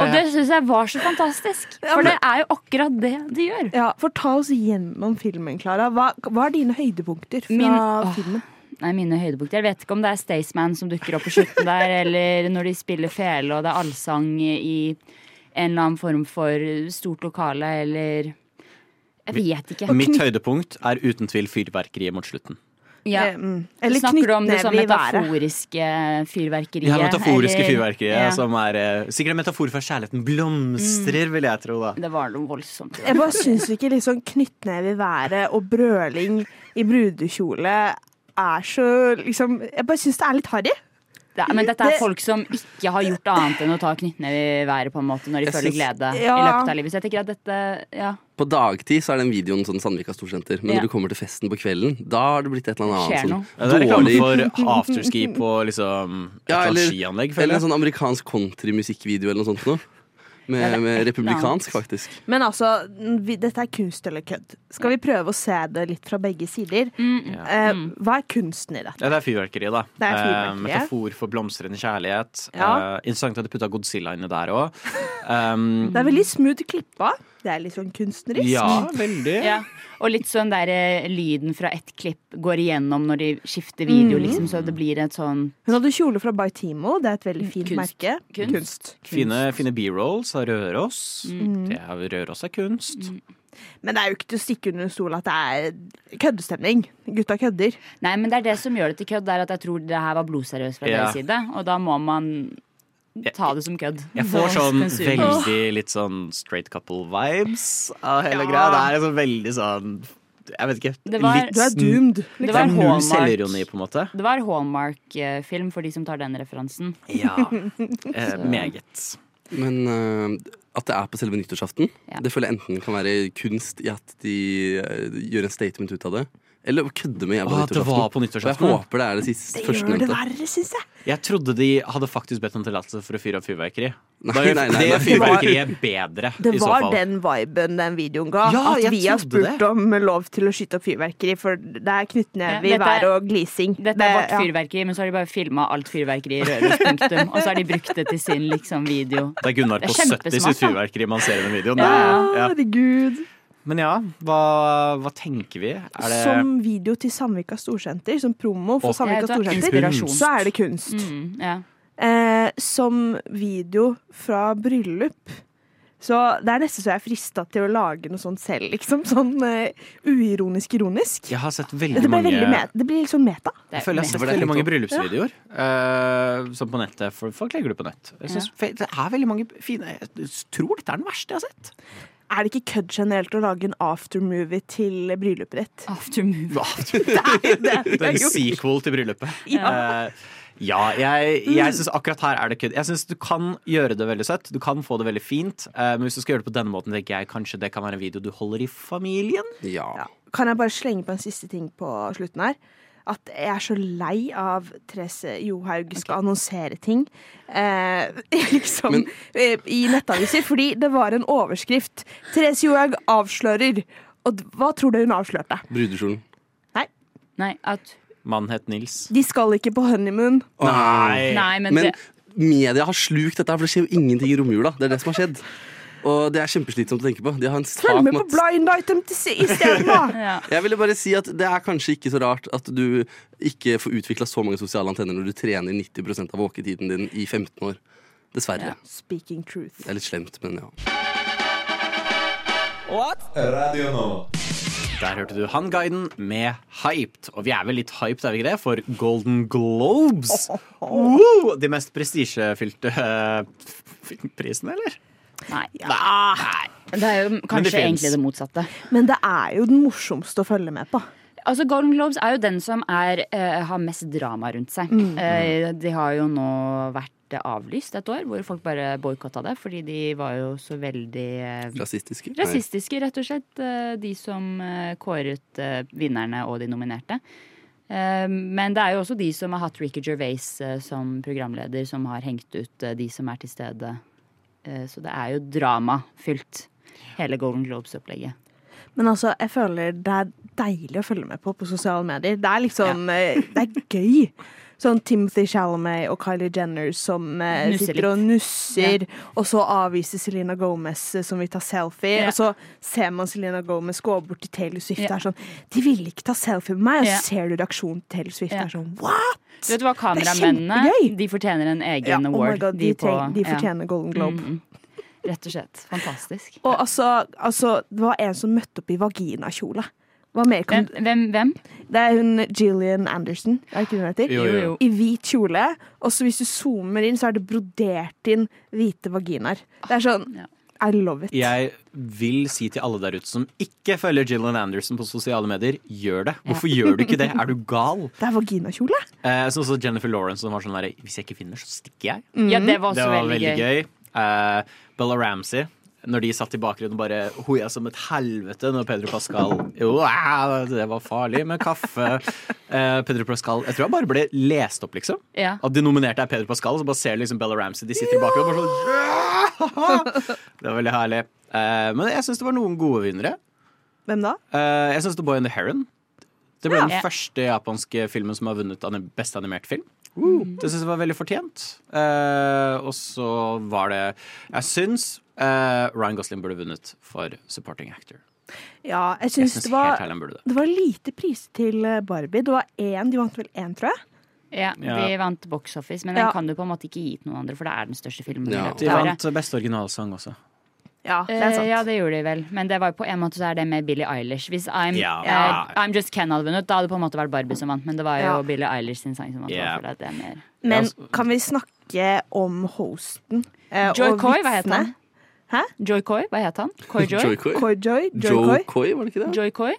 Speaker 4: Og det syns jeg var så fantastisk. For det er jo akkurat det de gjør.
Speaker 5: Ja, for ta oss gjennom filmen, Klara. Hva, hva er dine høydepunkter fra
Speaker 4: Min- Åh.
Speaker 5: filmen?
Speaker 4: Nei, mine høydepunkter. Jeg vet ikke om det er Staysman som dukker opp på slutten der, eller når de spiller fele og det er allsang i en eller annen form for stort lokale, eller Jeg vet ikke.
Speaker 3: Mitt høydepunkt er uten tvil fyrverkeriet mot slutten.
Speaker 4: Ja.
Speaker 5: Eh, mm. Eller
Speaker 4: Snakker du om det sånn
Speaker 5: knyttneve i været?
Speaker 4: metaforiske fyrverkeriet?
Speaker 3: Ja, metaforiske
Speaker 4: eller-
Speaker 3: fyrverkeriet,
Speaker 4: Ja.
Speaker 6: altså.
Speaker 3: som er eh, sikkert en metafor for at kjærligheten blomstrer, vil jeg tro. da
Speaker 4: Det var noe voldsomt.
Speaker 5: Jeg bare syns ikke liksom knyttneve i været og brøling i brudekjole er så liksom Jeg bare syns det er litt harry.
Speaker 4: Det, men dette er
Speaker 5: Det-
Speaker 4: folk som ikke har gjort annet enn å ta knyttneve i været på en måte når de
Speaker 6: Jeg
Speaker 4: føler
Speaker 6: syns-
Speaker 4: glede i
Speaker 5: Ja.
Speaker 4: løpet av livet. Så jeg tenker at dette ja,
Speaker 6: På dagtid så er den videoen sånn Sandvika storsenter, men
Speaker 4: Ja.
Speaker 6: når du kommer til festen på kvelden, da har det blitt et eller
Speaker 4: Skjer
Speaker 6: annet
Speaker 4: noe.
Speaker 3: Ja, Det er
Speaker 6: annet sånn
Speaker 3: reklame
Speaker 6: dårlig
Speaker 3: for afterski på liksom, et
Speaker 6: Ja,
Speaker 3: eller annet
Speaker 6: eller-
Speaker 3: skianlegg. føler
Speaker 6: Eller
Speaker 3: jeg.
Speaker 6: en sånn amerikansk countrymusikkvideo eller noe sånt noe.
Speaker 4: Ja,
Speaker 6: Med,
Speaker 4: det er et
Speaker 6: med
Speaker 4: eller
Speaker 6: republikansk,
Speaker 4: annet.
Speaker 6: faktisk.
Speaker 5: Men altså, vi, dette er kunst eller kødd. Skal vi prøve å se det litt fra begge sider?
Speaker 4: Mm,
Speaker 5: Eh, hva er kunsten i dette?
Speaker 3: Ja, det er fyrverkeri, da.
Speaker 5: Det er fyrverkeri.
Speaker 3: Eh, metafor for blomstrende kjærlighet.
Speaker 5: Ja.
Speaker 3: Eh, interessant at de putta Godzilla inni der òg. Um,
Speaker 5: Det er veldig smooth klippa. Det er litt sånn kunstnerisk.
Speaker 3: ja, veldig.
Speaker 4: ja. Og litt sånn der eh, lyden fra ett klipp går igjennom når de skifter video,
Speaker 5: Mm.
Speaker 4: liksom, så det blir et sånn
Speaker 5: Hun hadde kjole fra Baitimo. Det er et veldig fint
Speaker 4: Kunst.
Speaker 5: merke.
Speaker 4: Kunst.
Speaker 3: Fine, fine B-rolls av Røros. Det er, Røros er kunst.
Speaker 5: Men det er jo ikke til å stikke under en stol at det er køddestemning. Gutta kødder.
Speaker 4: Nei, men det er det som gjør det til kødd, det er at jeg tror det her var blodseriøst fra
Speaker 3: Ja.
Speaker 4: deres side, og da må man ta det som kødd.
Speaker 3: Jeg får sånn
Speaker 4: consumer.
Speaker 3: veldig litt sånn straight couple-vibes av hele greia. Det er liksom veldig sånn Jeg vet ikke.
Speaker 4: Det var-
Speaker 3: litt sånn-
Speaker 5: Du er doomed.
Speaker 4: Det
Speaker 3: Det
Speaker 4: var
Speaker 3: er null selvironi,
Speaker 4: Hallmark-
Speaker 3: på en måte.
Speaker 4: det var Hallmark-film for de som tar den referansen.
Speaker 3: Ja. Eh, meget.
Speaker 6: Men øh, at det er på selve nyttårsaften,
Speaker 4: Ja.
Speaker 6: det føler jeg enten kan være kunst i at de øh, gjør en statement ut av det. Eller å kødde med jævla
Speaker 3: Å, at det var
Speaker 6: nyttårsaften.
Speaker 3: på
Speaker 6: Og jeg
Speaker 3: nyttårsaften.
Speaker 6: håper det er det siste
Speaker 5: Det gjør
Speaker 6: førstnevnte.
Speaker 5: det verre, syns jeg.
Speaker 3: Jeg trodde de hadde faktisk bedt om tillatelse for å fyre opp fyrverkeri.
Speaker 6: Nei,
Speaker 3: Da gjør
Speaker 6: nei, nei, nei.
Speaker 3: det fyrverkeriet bedre,
Speaker 5: Det
Speaker 3: i så
Speaker 5: var
Speaker 3: fall.
Speaker 5: den viben den videoen ga.
Speaker 3: Ja,
Speaker 5: at
Speaker 3: jeg
Speaker 5: vi har
Speaker 3: trodde
Speaker 5: spurt om lov til å skyte opp fyrverkeri, for det er knyttneve
Speaker 4: Ja,
Speaker 5: i
Speaker 4: dette er-
Speaker 5: været og glising.
Speaker 4: Dette
Speaker 5: Det-
Speaker 4: er vårt
Speaker 5: ja.
Speaker 4: fyrverkeri, men så har de bare filma alt fyrverkeri i Røros. Punktum. Og så har de brukt det til sin liksom, video.
Speaker 3: Det er Gunnar
Speaker 4: Det
Speaker 3: på 70
Speaker 4: er kjempesmart,
Speaker 3: sitt
Speaker 4: da.
Speaker 3: fyrverkeri man ser i den videoen. Det
Speaker 5: Ja,
Speaker 3: er- ja.
Speaker 5: herregud.
Speaker 3: Men ja, hva, hva tenker vi? Er det
Speaker 5: Som video til Sandvika Storsenter, som promo for
Speaker 3: Og-
Speaker 5: Sandvika
Speaker 4: Ja, det er
Speaker 5: Storsenter,
Speaker 4: inspirasjon.
Speaker 5: så er det kunst.
Speaker 4: Mm, ja.
Speaker 5: Eh, som video fra bryllup. Så det er nesten så jeg er frista til å lage noe sånt selv, liksom. Sånn eh, uironisk ironisk.
Speaker 3: Jeg har sett veldig
Speaker 5: Dette ble
Speaker 3: mange
Speaker 5: veldig me- det blir litt sånn meta.
Speaker 4: Det
Speaker 3: jeg
Speaker 4: er
Speaker 3: føler jeg har sett
Speaker 4: mest-
Speaker 3: veldig mange bryllupsvideoer. eh, som på nettet. For folk legger det på nett. Jeg synes, fe- Det er veldig mange fine Jeg tror dette er den verste jeg har sett.
Speaker 5: Er det ikke kødd generelt å lage en aftermovie til bryllupet ditt?
Speaker 4: aftermovie.
Speaker 3: Det er en sequel til bryllupet. Eh, ja, Mm. jeg, jeg syns akkurat her er det kødd. Jeg synes Du kan gjøre det veldig søtt, du kan få det veldig fint, eh, men hvis du skal gjøre det på denne måten, tenker jeg kanskje det kan være en video du holder i familien.
Speaker 6: Ja.
Speaker 5: Kan jeg bare slenge på en siste ting på slutten her? At jeg er så lei av Therese Johaug skal annonsere ting eh, liksom,
Speaker 6: Men-
Speaker 5: eh, i nettaviser. Fordi det var en overskrift. 'Therese Johaug avslører'. Og d- hva tror du hun avslørte?
Speaker 6: Brudekjolen.
Speaker 4: Nei, at,
Speaker 3: Mannen het Nils.
Speaker 5: De skal ikke på honeymoon.
Speaker 3: Eh,
Speaker 4: nei, men,
Speaker 6: Men
Speaker 4: det,
Speaker 6: media har slukt dette, her, for det skjer jo ingenting i romjula. Det er det som har skjedd. Og det er kjempeslitsomt å tenke på. De har en sak
Speaker 5: Følg med
Speaker 6: om
Speaker 5: på
Speaker 6: at-
Speaker 5: Blind Item til si- isteden, da!
Speaker 4: ja.
Speaker 6: Jeg ville bare si at Det er kanskje ikke så rart at du ikke får utvikla så mange sosiale antenner når du trener 90 av våketiden din i 15 år. Dessverre.
Speaker 5: Speaking truth.
Speaker 6: Det er litt slemt, men ja.
Speaker 8: Radio Nova.
Speaker 3: Der hørte du Han Guiden med Hyped. Og vi er vel litt hyped, er vi ikke det? For Golden Globes. Woo! de mest prestisjefylte eh, prisene, eller?
Speaker 4: nei.
Speaker 3: Nei.
Speaker 4: Det
Speaker 3: Ah!
Speaker 4: er jo
Speaker 3: Men det
Speaker 4: kanskje
Speaker 3: finnes.
Speaker 4: egentlig det motsatte.
Speaker 5: Men det er jo den morsomste å følge med på.
Speaker 4: Altså Golden Globes er jo den som er, eh, har mest drama rundt seg. Eh, de har jo nå vært ble avlyst et år, hvor folk bare boikotta det, fordi de var jo så veldig eh,
Speaker 6: Rasistiske? Nei.
Speaker 4: Rasistiske, rett og slett. eh, De som eh, kåret eh, vinnerne og de nominerte. Eh, Men det er jo også de som har hatt Ricky Gervais eh, som programleder, som har hengt ut eh, de som er til stede. Eh, Så det er jo dramafylt, hele Golden Globes-opplegget.
Speaker 5: Men altså, jeg føler det er deilig å følge med på på sosiale medier. Det er liksom eh, Det er gøy. Sånn Timothy Chalamet og Kylie Jenner som eh,
Speaker 4: Nusser
Speaker 5: sitter
Speaker 4: litt.
Speaker 5: og nusser, og så avviser Selena Gomez eh, som vil ta selfie,
Speaker 4: Ja.
Speaker 5: og så ser man Selena Gomez gå bort til Taylor Swift
Speaker 4: Ja.
Speaker 5: og er sånn 'De ville ikke ta selfie med meg', og
Speaker 4: Ja.
Speaker 5: så ser du reaksjonen til Taylor Swift
Speaker 4: Ja.
Speaker 5: og er sånn 'what?!
Speaker 4: Du vet hva,
Speaker 5: Det er
Speaker 4: kameramennene
Speaker 5: kjempegøy!
Speaker 4: de fortjener en egen
Speaker 5: Ja, oh
Speaker 4: award.
Speaker 5: my god, de,
Speaker 4: på-
Speaker 5: treng, de
Speaker 4: ja.
Speaker 5: fortjener Golden Globe.
Speaker 4: Mm, mm. Rett og slett. Fantastisk.
Speaker 5: Og altså, altså, det var en som møtte opp i vaginakjole. Hva mer kan
Speaker 4: Hvem? hvem, hvem?
Speaker 5: Det er hun Gillian Anderson, er det ikke hun heter?
Speaker 3: Jo, jo.
Speaker 5: I hvit kjole. Og så hvis du zoomer inn, så er det brodert inn hvite vaginaer. Det er sånn
Speaker 4: Ja.
Speaker 5: I love it.
Speaker 3: Jeg vil si til alle der ute som ikke følger Gillian Anderson på sosiale medier, gjør det. Hvorfor gjør du ikke det? Er du gal?
Speaker 5: Det er vaginakjole!
Speaker 3: Eh, sånn som Jennifer Lawrence som var sånn der Hvis jeg ikke finner, så stikker jeg.
Speaker 4: Ja, det var også
Speaker 3: Det var
Speaker 4: veldig,
Speaker 3: veldig
Speaker 4: gøy.
Speaker 3: gøy. Eh, Bella Ramsey, når de satt i bakgrunnen og bare hoia som et helvete når Pedro Pascal Wow, Det var farlig med kaffe. Eh, Pedro Pascal Jeg tror han bare ble lest opp, liksom.
Speaker 4: Ja.
Speaker 3: At de nominerte er Pedro Pascal, og så bare ser du liksom Bella Ramsey. De sitter i bakgrunnen og bare sånn ja! Det var veldig herlig. Eh, men jeg syns det var noen gode vinnere.
Speaker 5: Hvem da?
Speaker 3: Eh, jeg syns The Boy and the Heron. Det ble den
Speaker 4: Ja.
Speaker 3: første japanske filmen som har vunnet anim beste animert film. Det syns jeg var veldig fortjent. Eh, og så var det Jeg syns eh, Ryan Gosling burde vunnet for supporting actor.
Speaker 5: Ja, jeg
Speaker 3: Jeg syns
Speaker 5: syns det
Speaker 3: helt
Speaker 5: var
Speaker 3: ærlig han burde det.
Speaker 5: det var lite priser til eh, Barbie. Det var én, De vant vel én, tror jeg.
Speaker 4: Ja,
Speaker 3: Ja.
Speaker 4: De vant Box Office, men den
Speaker 5: Ja.
Speaker 4: kan du på en måte ikke gi til noen andre, for det er den største filmen. i
Speaker 6: Ja.
Speaker 4: løpet
Speaker 3: De
Speaker 4: av året.
Speaker 3: vant beste originalsang også.
Speaker 5: Ja, det er
Speaker 4: Eh,
Speaker 5: sant.
Speaker 4: Ja, det gjorde de vel. Men det var jo på en måte så er det med Billie Eilish. Hvis I'm,
Speaker 3: Ja.
Speaker 4: eh, I'm Just Ken hadde vunnet, da hadde det på en måte vært Barbie som vant. Men det var jo
Speaker 5: Ja.
Speaker 4: Billie Eilish sin sang som vant.
Speaker 3: Ja.
Speaker 4: for at det er mer.
Speaker 5: Men
Speaker 3: Ja, altså-
Speaker 5: kan vi snakke om hosten? eh,
Speaker 4: Joy
Speaker 5: og
Speaker 4: Coy, hva het
Speaker 5: vitsene?
Speaker 4: han?
Speaker 5: Hæ?
Speaker 4: Joy Coy, hva het han? Coy Joy?
Speaker 6: Joy Coy?
Speaker 5: Coy Joy? Joy
Speaker 6: Joe
Speaker 5: Coy?
Speaker 6: Coy, var det ikke det?
Speaker 4: Joy Coy?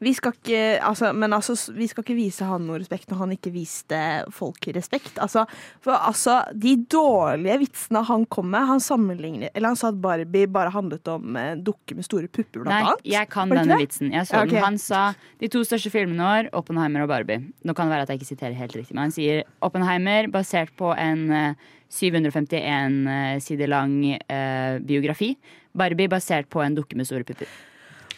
Speaker 5: Vi skal ikke, altså, men altså, s- vi skal ikke vise han noe respekt når han ikke viste folk respekt. Altså, for altså, de dårlige vitsene han kom med Han sammenligner, eller han sa at Barbie bare handlet om eh, dukker med store pupper, blant
Speaker 4: Nei,
Speaker 5: annet.
Speaker 4: jeg kan
Speaker 5: Var det ikke
Speaker 4: denne
Speaker 5: det?
Speaker 4: vitsen. Jeg
Speaker 5: Ja,
Speaker 4: så den.
Speaker 5: ok.
Speaker 4: Han sa de to største filmene i år, Oppenheimer og Barbie. Nå kan det være at jeg ikke siterer helt riktig, men han sier Oppenheimer basert på en eh, 751 eh, sider lang eh, biografi. Barbie basert på en dukke med store pupper.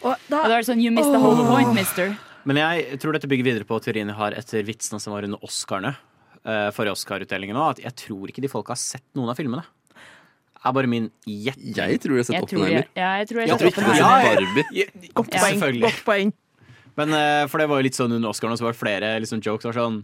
Speaker 5: Og da,
Speaker 4: Og da er det sånn, you missed the whole point, mister.
Speaker 3: Men jeg tror dette bygger videre på teorien jeg har etter vitsene som var under Oscarene. Uh, forrige Oscar-utdelingen òg. At jeg tror ikke de folka har sett noen av filmene. er bare min gjett.
Speaker 6: Jeg tror jeg har sett
Speaker 4: Jeg tror jeg,
Speaker 6: Oppenheimer.
Speaker 4: ja, jeg tror jeg
Speaker 3: Ja,
Speaker 6: Jeg tror ikke du har
Speaker 3: Ja,
Speaker 4: Oppenheimer.
Speaker 3: ja.
Speaker 6: sett Barbie.
Speaker 5: godt,
Speaker 4: Ja.
Speaker 5: poeng,
Speaker 3: Selvfølgelig.
Speaker 5: godt poeng.
Speaker 3: Men eh, for det var jo litt sånn under Oscaren, og så var det flere liksom, jokes som var sånn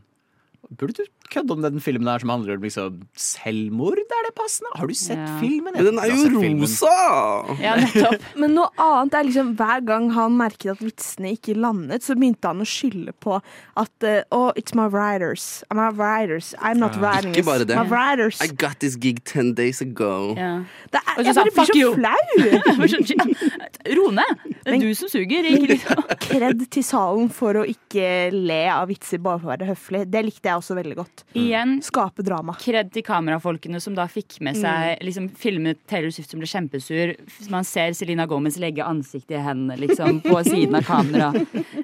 Speaker 3: Burde du kødde om den filmen der som handler om liksom, selvmord? Er det passende? Har du sett
Speaker 4: Ja.
Speaker 3: filmen?
Speaker 6: Men den er
Speaker 3: Jeg har
Speaker 6: jo
Speaker 3: sett filmen.
Speaker 6: rosa!
Speaker 4: Ja, nettopp.
Speaker 5: Men noe annet er liksom hver gang han merket at vitsene ikke landet, så begynte han å skylde på at eh, Oh, it's my writers. My writers. I'm not writing
Speaker 6: Ikke bare det.
Speaker 5: My writers.
Speaker 6: I got this gig ten days ago.
Speaker 4: Ja.
Speaker 5: Det er,
Speaker 4: Og så
Speaker 5: jeg
Speaker 4: sa han,
Speaker 5: bare blir
Speaker 4: fuck
Speaker 5: så
Speaker 4: you.
Speaker 5: flau!
Speaker 4: Jeg var sånn, ja, Ro ned! Det er
Speaker 5: Men-
Speaker 4: du som suger. Ikke liksom.
Speaker 5: Kred til salen for å ikke le av vitser bare for å være høflig. Det likte jeg også veldig godt.
Speaker 4: Igjen
Speaker 5: Skape drama.
Speaker 4: kred til kamerafolkene som da fikk med seg liksom, filmet Taylor Swift som ble kjempesur. Man ser Selena Gomez legge ansiktet i hendene liksom, på siden av kamera.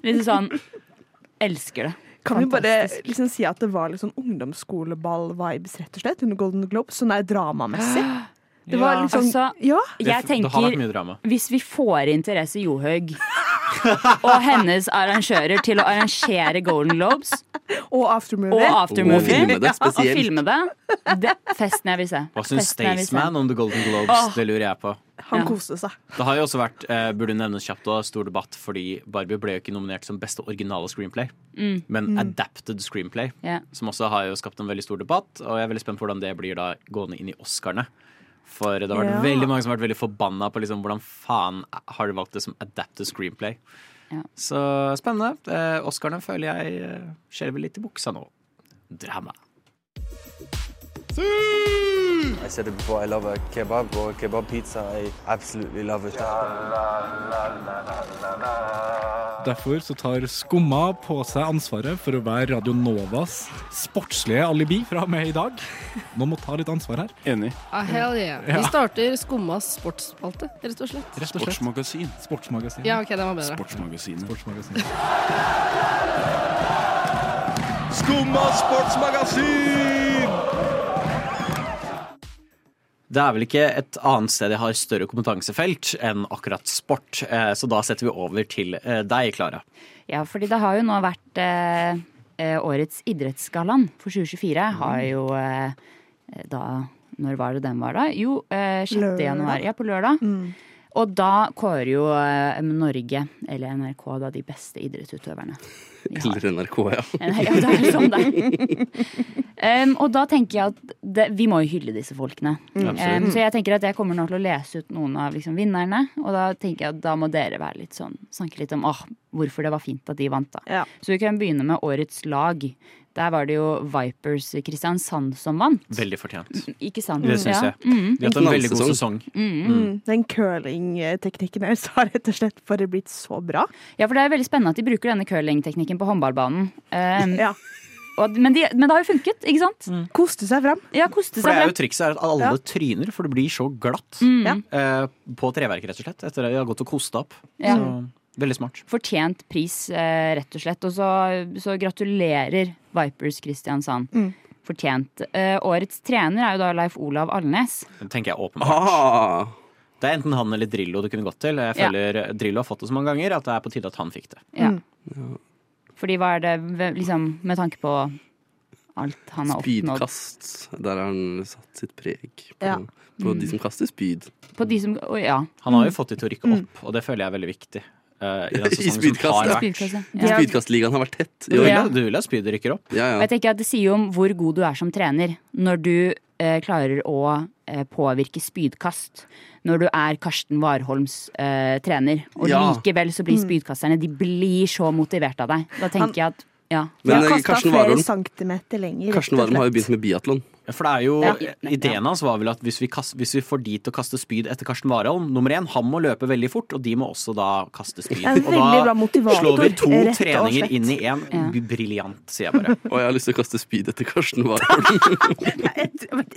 Speaker 4: Liksom sånn Elsker det.
Speaker 5: Kan vi bare
Speaker 4: Fantastisk.
Speaker 5: liksom si at det var litt sånn ungdomsskoleball-vibes rett og slett under Golden Globe? Sånn er dramamessig. Det var litt sånn
Speaker 4: Altså,
Speaker 5: Ja.
Speaker 3: Det,
Speaker 4: jeg
Speaker 3: det har vært
Speaker 4: tenker
Speaker 3: mye drama.
Speaker 4: Hvis vi får inn Therese Johaug og hennes arrangører til å arrangere Golden Globes
Speaker 5: Og
Speaker 4: og
Speaker 5: aftermovie.
Speaker 6: Og filme
Speaker 4: aftermovie
Speaker 6: det
Speaker 4: og
Speaker 6: spesielt.
Speaker 4: filme det, det festen jeg vil se.
Speaker 3: Hva syns
Speaker 4: Festen jeg vil se.
Speaker 3: Staysman om The Golden Globes? Det lurer jeg på.
Speaker 5: Han
Speaker 4: Ja.
Speaker 5: koste seg.
Speaker 3: Det har jo også vært eh, burde nevnes kjapt da, stor debatt fordi Barbie ble jo ikke nominert som beste originale screenplay, men adapted screenplay.
Speaker 4: Mm. Ja.
Speaker 3: Som også har jo skapt en veldig stor debatt, og jeg er veldig spent på hvordan det blir da gående inn i Oscarene. For det har vært
Speaker 5: Ja.
Speaker 3: veldig mange som har vært veldig forbanna på liksom, hvordan faen har de valgt det som adapted screenplay.
Speaker 4: Ja.
Speaker 3: Så spennende. Eh, Oscarene føler jeg eh, skjelver litt i buksa nå. Drama.
Speaker 9: I said it before, I love a kebab or kebab pizza. I absolutely love it.
Speaker 10: Derfor så tar Skumma på seg ansvaret for å være Radio Novas sportslige alibi fra og med i dag. Nå må ta litt ansvar her.
Speaker 3: Enig.
Speaker 11: Ah, hell yeah. Vi
Speaker 10: Ja.
Speaker 11: starter Skummas sportsspalte, rett og slett.
Speaker 10: Rett og slett.
Speaker 3: Sportsmagasin.
Speaker 10: Sportsmagasinet.
Speaker 11: Ja, OK, den var bedre.
Speaker 3: Sportsmagasinet.
Speaker 10: Sportsmagasinet.
Speaker 3: Skumma sportsmagasin! Det er vel ikke et annet sted jeg har større kompetansefelt enn akkurat sport, eh, så da setter vi over til eh, deg, Klara.
Speaker 4: Ja, fordi det har jo nå vært eh, eh, årets idrettsgallaen for 2024. Har jo eh, da Når var det den var, da? Jo, eh, 6.
Speaker 5: Lørdag.
Speaker 4: januar. Ja, på lørdag. Og da kårer jo eh, Norge, eller NRK, da de beste idrettsutøverne. vi har.
Speaker 6: Eller NRK, ja.
Speaker 4: Ja, det er sånn det er. Em, og da tenker jeg at det, vi må jo hylle disse folkene. Em, så jeg tenker at jeg kommer nå til å lese ut noen av liksom, vinnerne. Og da tenker jeg at da må dere være litt sånn, snakke litt om åh, hvorfor det var fint at de vant. da.
Speaker 5: Ja.
Speaker 4: Så vi kan begynne med årets lag. Der var det jo Vipers Kristiansand som vant.
Speaker 3: Veldig fortjent.
Speaker 4: Ikke sant?
Speaker 3: Det syns
Speaker 4: Mm, Ja.
Speaker 3: jeg.
Speaker 4: Mm.
Speaker 3: De har hatt en veldig god sesong.
Speaker 6: Knallsesong.
Speaker 5: Mm. Den curlingteknikken deres har rett og slett bare blitt så bra.
Speaker 4: Ja, for det er veldig spennende at de bruker denne curlingteknikken på håndballbanen. Em,
Speaker 5: Ja.
Speaker 4: og, men, de, men det har jo funket, ikke sant?
Speaker 5: Koste seg fram.
Speaker 4: Ja, koste
Speaker 3: For det
Speaker 4: seg
Speaker 3: er
Speaker 4: frem.
Speaker 3: jo trikset er at alle
Speaker 5: Ja.
Speaker 3: tryner, for det blir så glatt
Speaker 4: Mm.
Speaker 5: Ja.
Speaker 3: eh, på treverket, rett og slett. Etter at de har gått og kosta opp.
Speaker 4: Ja.
Speaker 3: Så veldig smart.
Speaker 4: fortjent pris, eh, rett og slett. Og så, så gratulerer Vipers Kristiansand. Fortjent. Eh, årets trener er jo da Leif Olav Alnes.
Speaker 3: Det tenker jeg åpenbart.
Speaker 6: Ah,
Speaker 3: Det er enten han eller Drillo det kunne gått til. Jeg
Speaker 4: Ja.
Speaker 3: føler Drillo har fått det så mange ganger at det er på tide at han fikk det.
Speaker 4: Ja. Fordi hva er det ve- liksom Med tanke på alt han har oppnådd.
Speaker 6: spydkast. Der har han satt sitt preg på,
Speaker 5: Ja.
Speaker 6: på de som kaster spyd.
Speaker 4: På de som å, Ja.
Speaker 3: Han har jo fått de til å
Speaker 4: Mm.
Speaker 3: rykke opp, og det føler jeg er veldig viktig. eh, I den
Speaker 6: I
Speaker 3: sesongen som har
Speaker 6: spydkast,
Speaker 3: vært.
Speaker 4: Spydkasse. Ja.
Speaker 6: Spydkastligaen har vært tett i
Speaker 3: Du
Speaker 6: år.
Speaker 3: vil,
Speaker 4: Ja.
Speaker 3: du vil at spydet rykker opp?
Speaker 6: Ja,
Speaker 4: Og
Speaker 6: ja.
Speaker 4: jeg tenker at Det sier jo om hvor god du er som trener når du eh, klarer å eh, påvirke spydkast. Når du er Karsten Warholms eh, trener, og
Speaker 6: Ja.
Speaker 4: likevel så
Speaker 3: Mm.
Speaker 4: blir spydkasterne De blir så motivert av deg. Da tenker jeg at ja.
Speaker 5: De
Speaker 6: Men
Speaker 5: har
Speaker 6: eh,
Speaker 5: kastet
Speaker 6: Karsten
Speaker 5: flere
Speaker 6: Warholm
Speaker 5: centimeter lenger. rett
Speaker 6: Karsten
Speaker 5: og
Speaker 6: Warholm har jo
Speaker 5: slett.
Speaker 6: begynt med biatlon.
Speaker 3: For det er jo,
Speaker 4: Ja.
Speaker 3: Ideen hans var vel at hvis vi, kast, hvis vi får de til å kaste spyd etter Karsten Warholm Nummer én, han må løpe veldig fort, og de må også da kaste spyd.
Speaker 5: Det er en
Speaker 3: Og
Speaker 5: veldig bra
Speaker 3: da
Speaker 5: motivator,
Speaker 3: slår vi to
Speaker 5: rett og slett.
Speaker 3: treninger inn i én. Briljant, sier jeg bare.
Speaker 6: Og jeg har lyst til å kaste spyd etter Karsten Warholm.
Speaker 5: Det-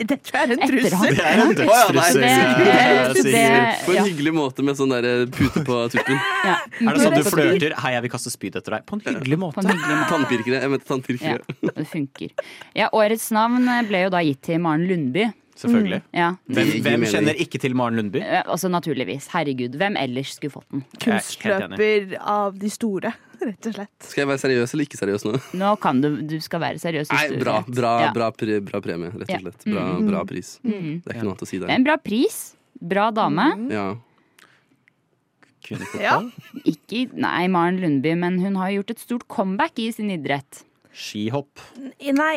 Speaker 5: Det tror jeg er en
Speaker 4: Etter han.
Speaker 5: trussel.
Speaker 3: Det er en
Speaker 6: dødstrussel,
Speaker 4: eh,
Speaker 3: dødstrussel,
Speaker 4: det-
Speaker 6: På en
Speaker 4: Ja.
Speaker 6: hyggelig måte med sånn der eh, pute på tuppen.
Speaker 3: Er det sånn du
Speaker 4: På
Speaker 3: flørter 'hei, jeg vil kaste spyd etter deg' på en hyggelig måte?
Speaker 4: en hyggelig måte.
Speaker 6: Tannpirkere. Jeg mente
Speaker 4: Ja,
Speaker 6: tannpirkere.
Speaker 4: det funker. Ja, årets navn eh, ble jo da gitt til Maren Lundby.
Speaker 3: Selvfølgelig.
Speaker 4: Ja,
Speaker 3: Hvem,
Speaker 6: Det gir
Speaker 3: hvem
Speaker 6: mening.
Speaker 3: kjenner ikke til Maren Lundby?
Speaker 4: eh, altså naturligvis. Herregud, hvem ellers skulle fått den?
Speaker 5: Kunstløper av de store, rett og slett.
Speaker 6: Skal jeg være seriøs eller ikke seriøs nå?
Speaker 4: Nå kan du, du skal være seriøs. hvis
Speaker 6: Nei,
Speaker 4: du-
Speaker 6: bra, bra,
Speaker 4: Ja.
Speaker 6: bra, pre, bra premie, rett
Speaker 4: Ja.
Speaker 6: og slett. Bra, bra pris. Det er ikke noe annet å si
Speaker 4: Det er
Speaker 6: der.
Speaker 4: En bra pris. Bra dame.
Speaker 6: Ja.
Speaker 5: Ja.
Speaker 4: Ikke nei, Maren Lundby, men hun har jo gjort et stort comeback i sin idrett.
Speaker 3: Skihopp.
Speaker 5: Nei,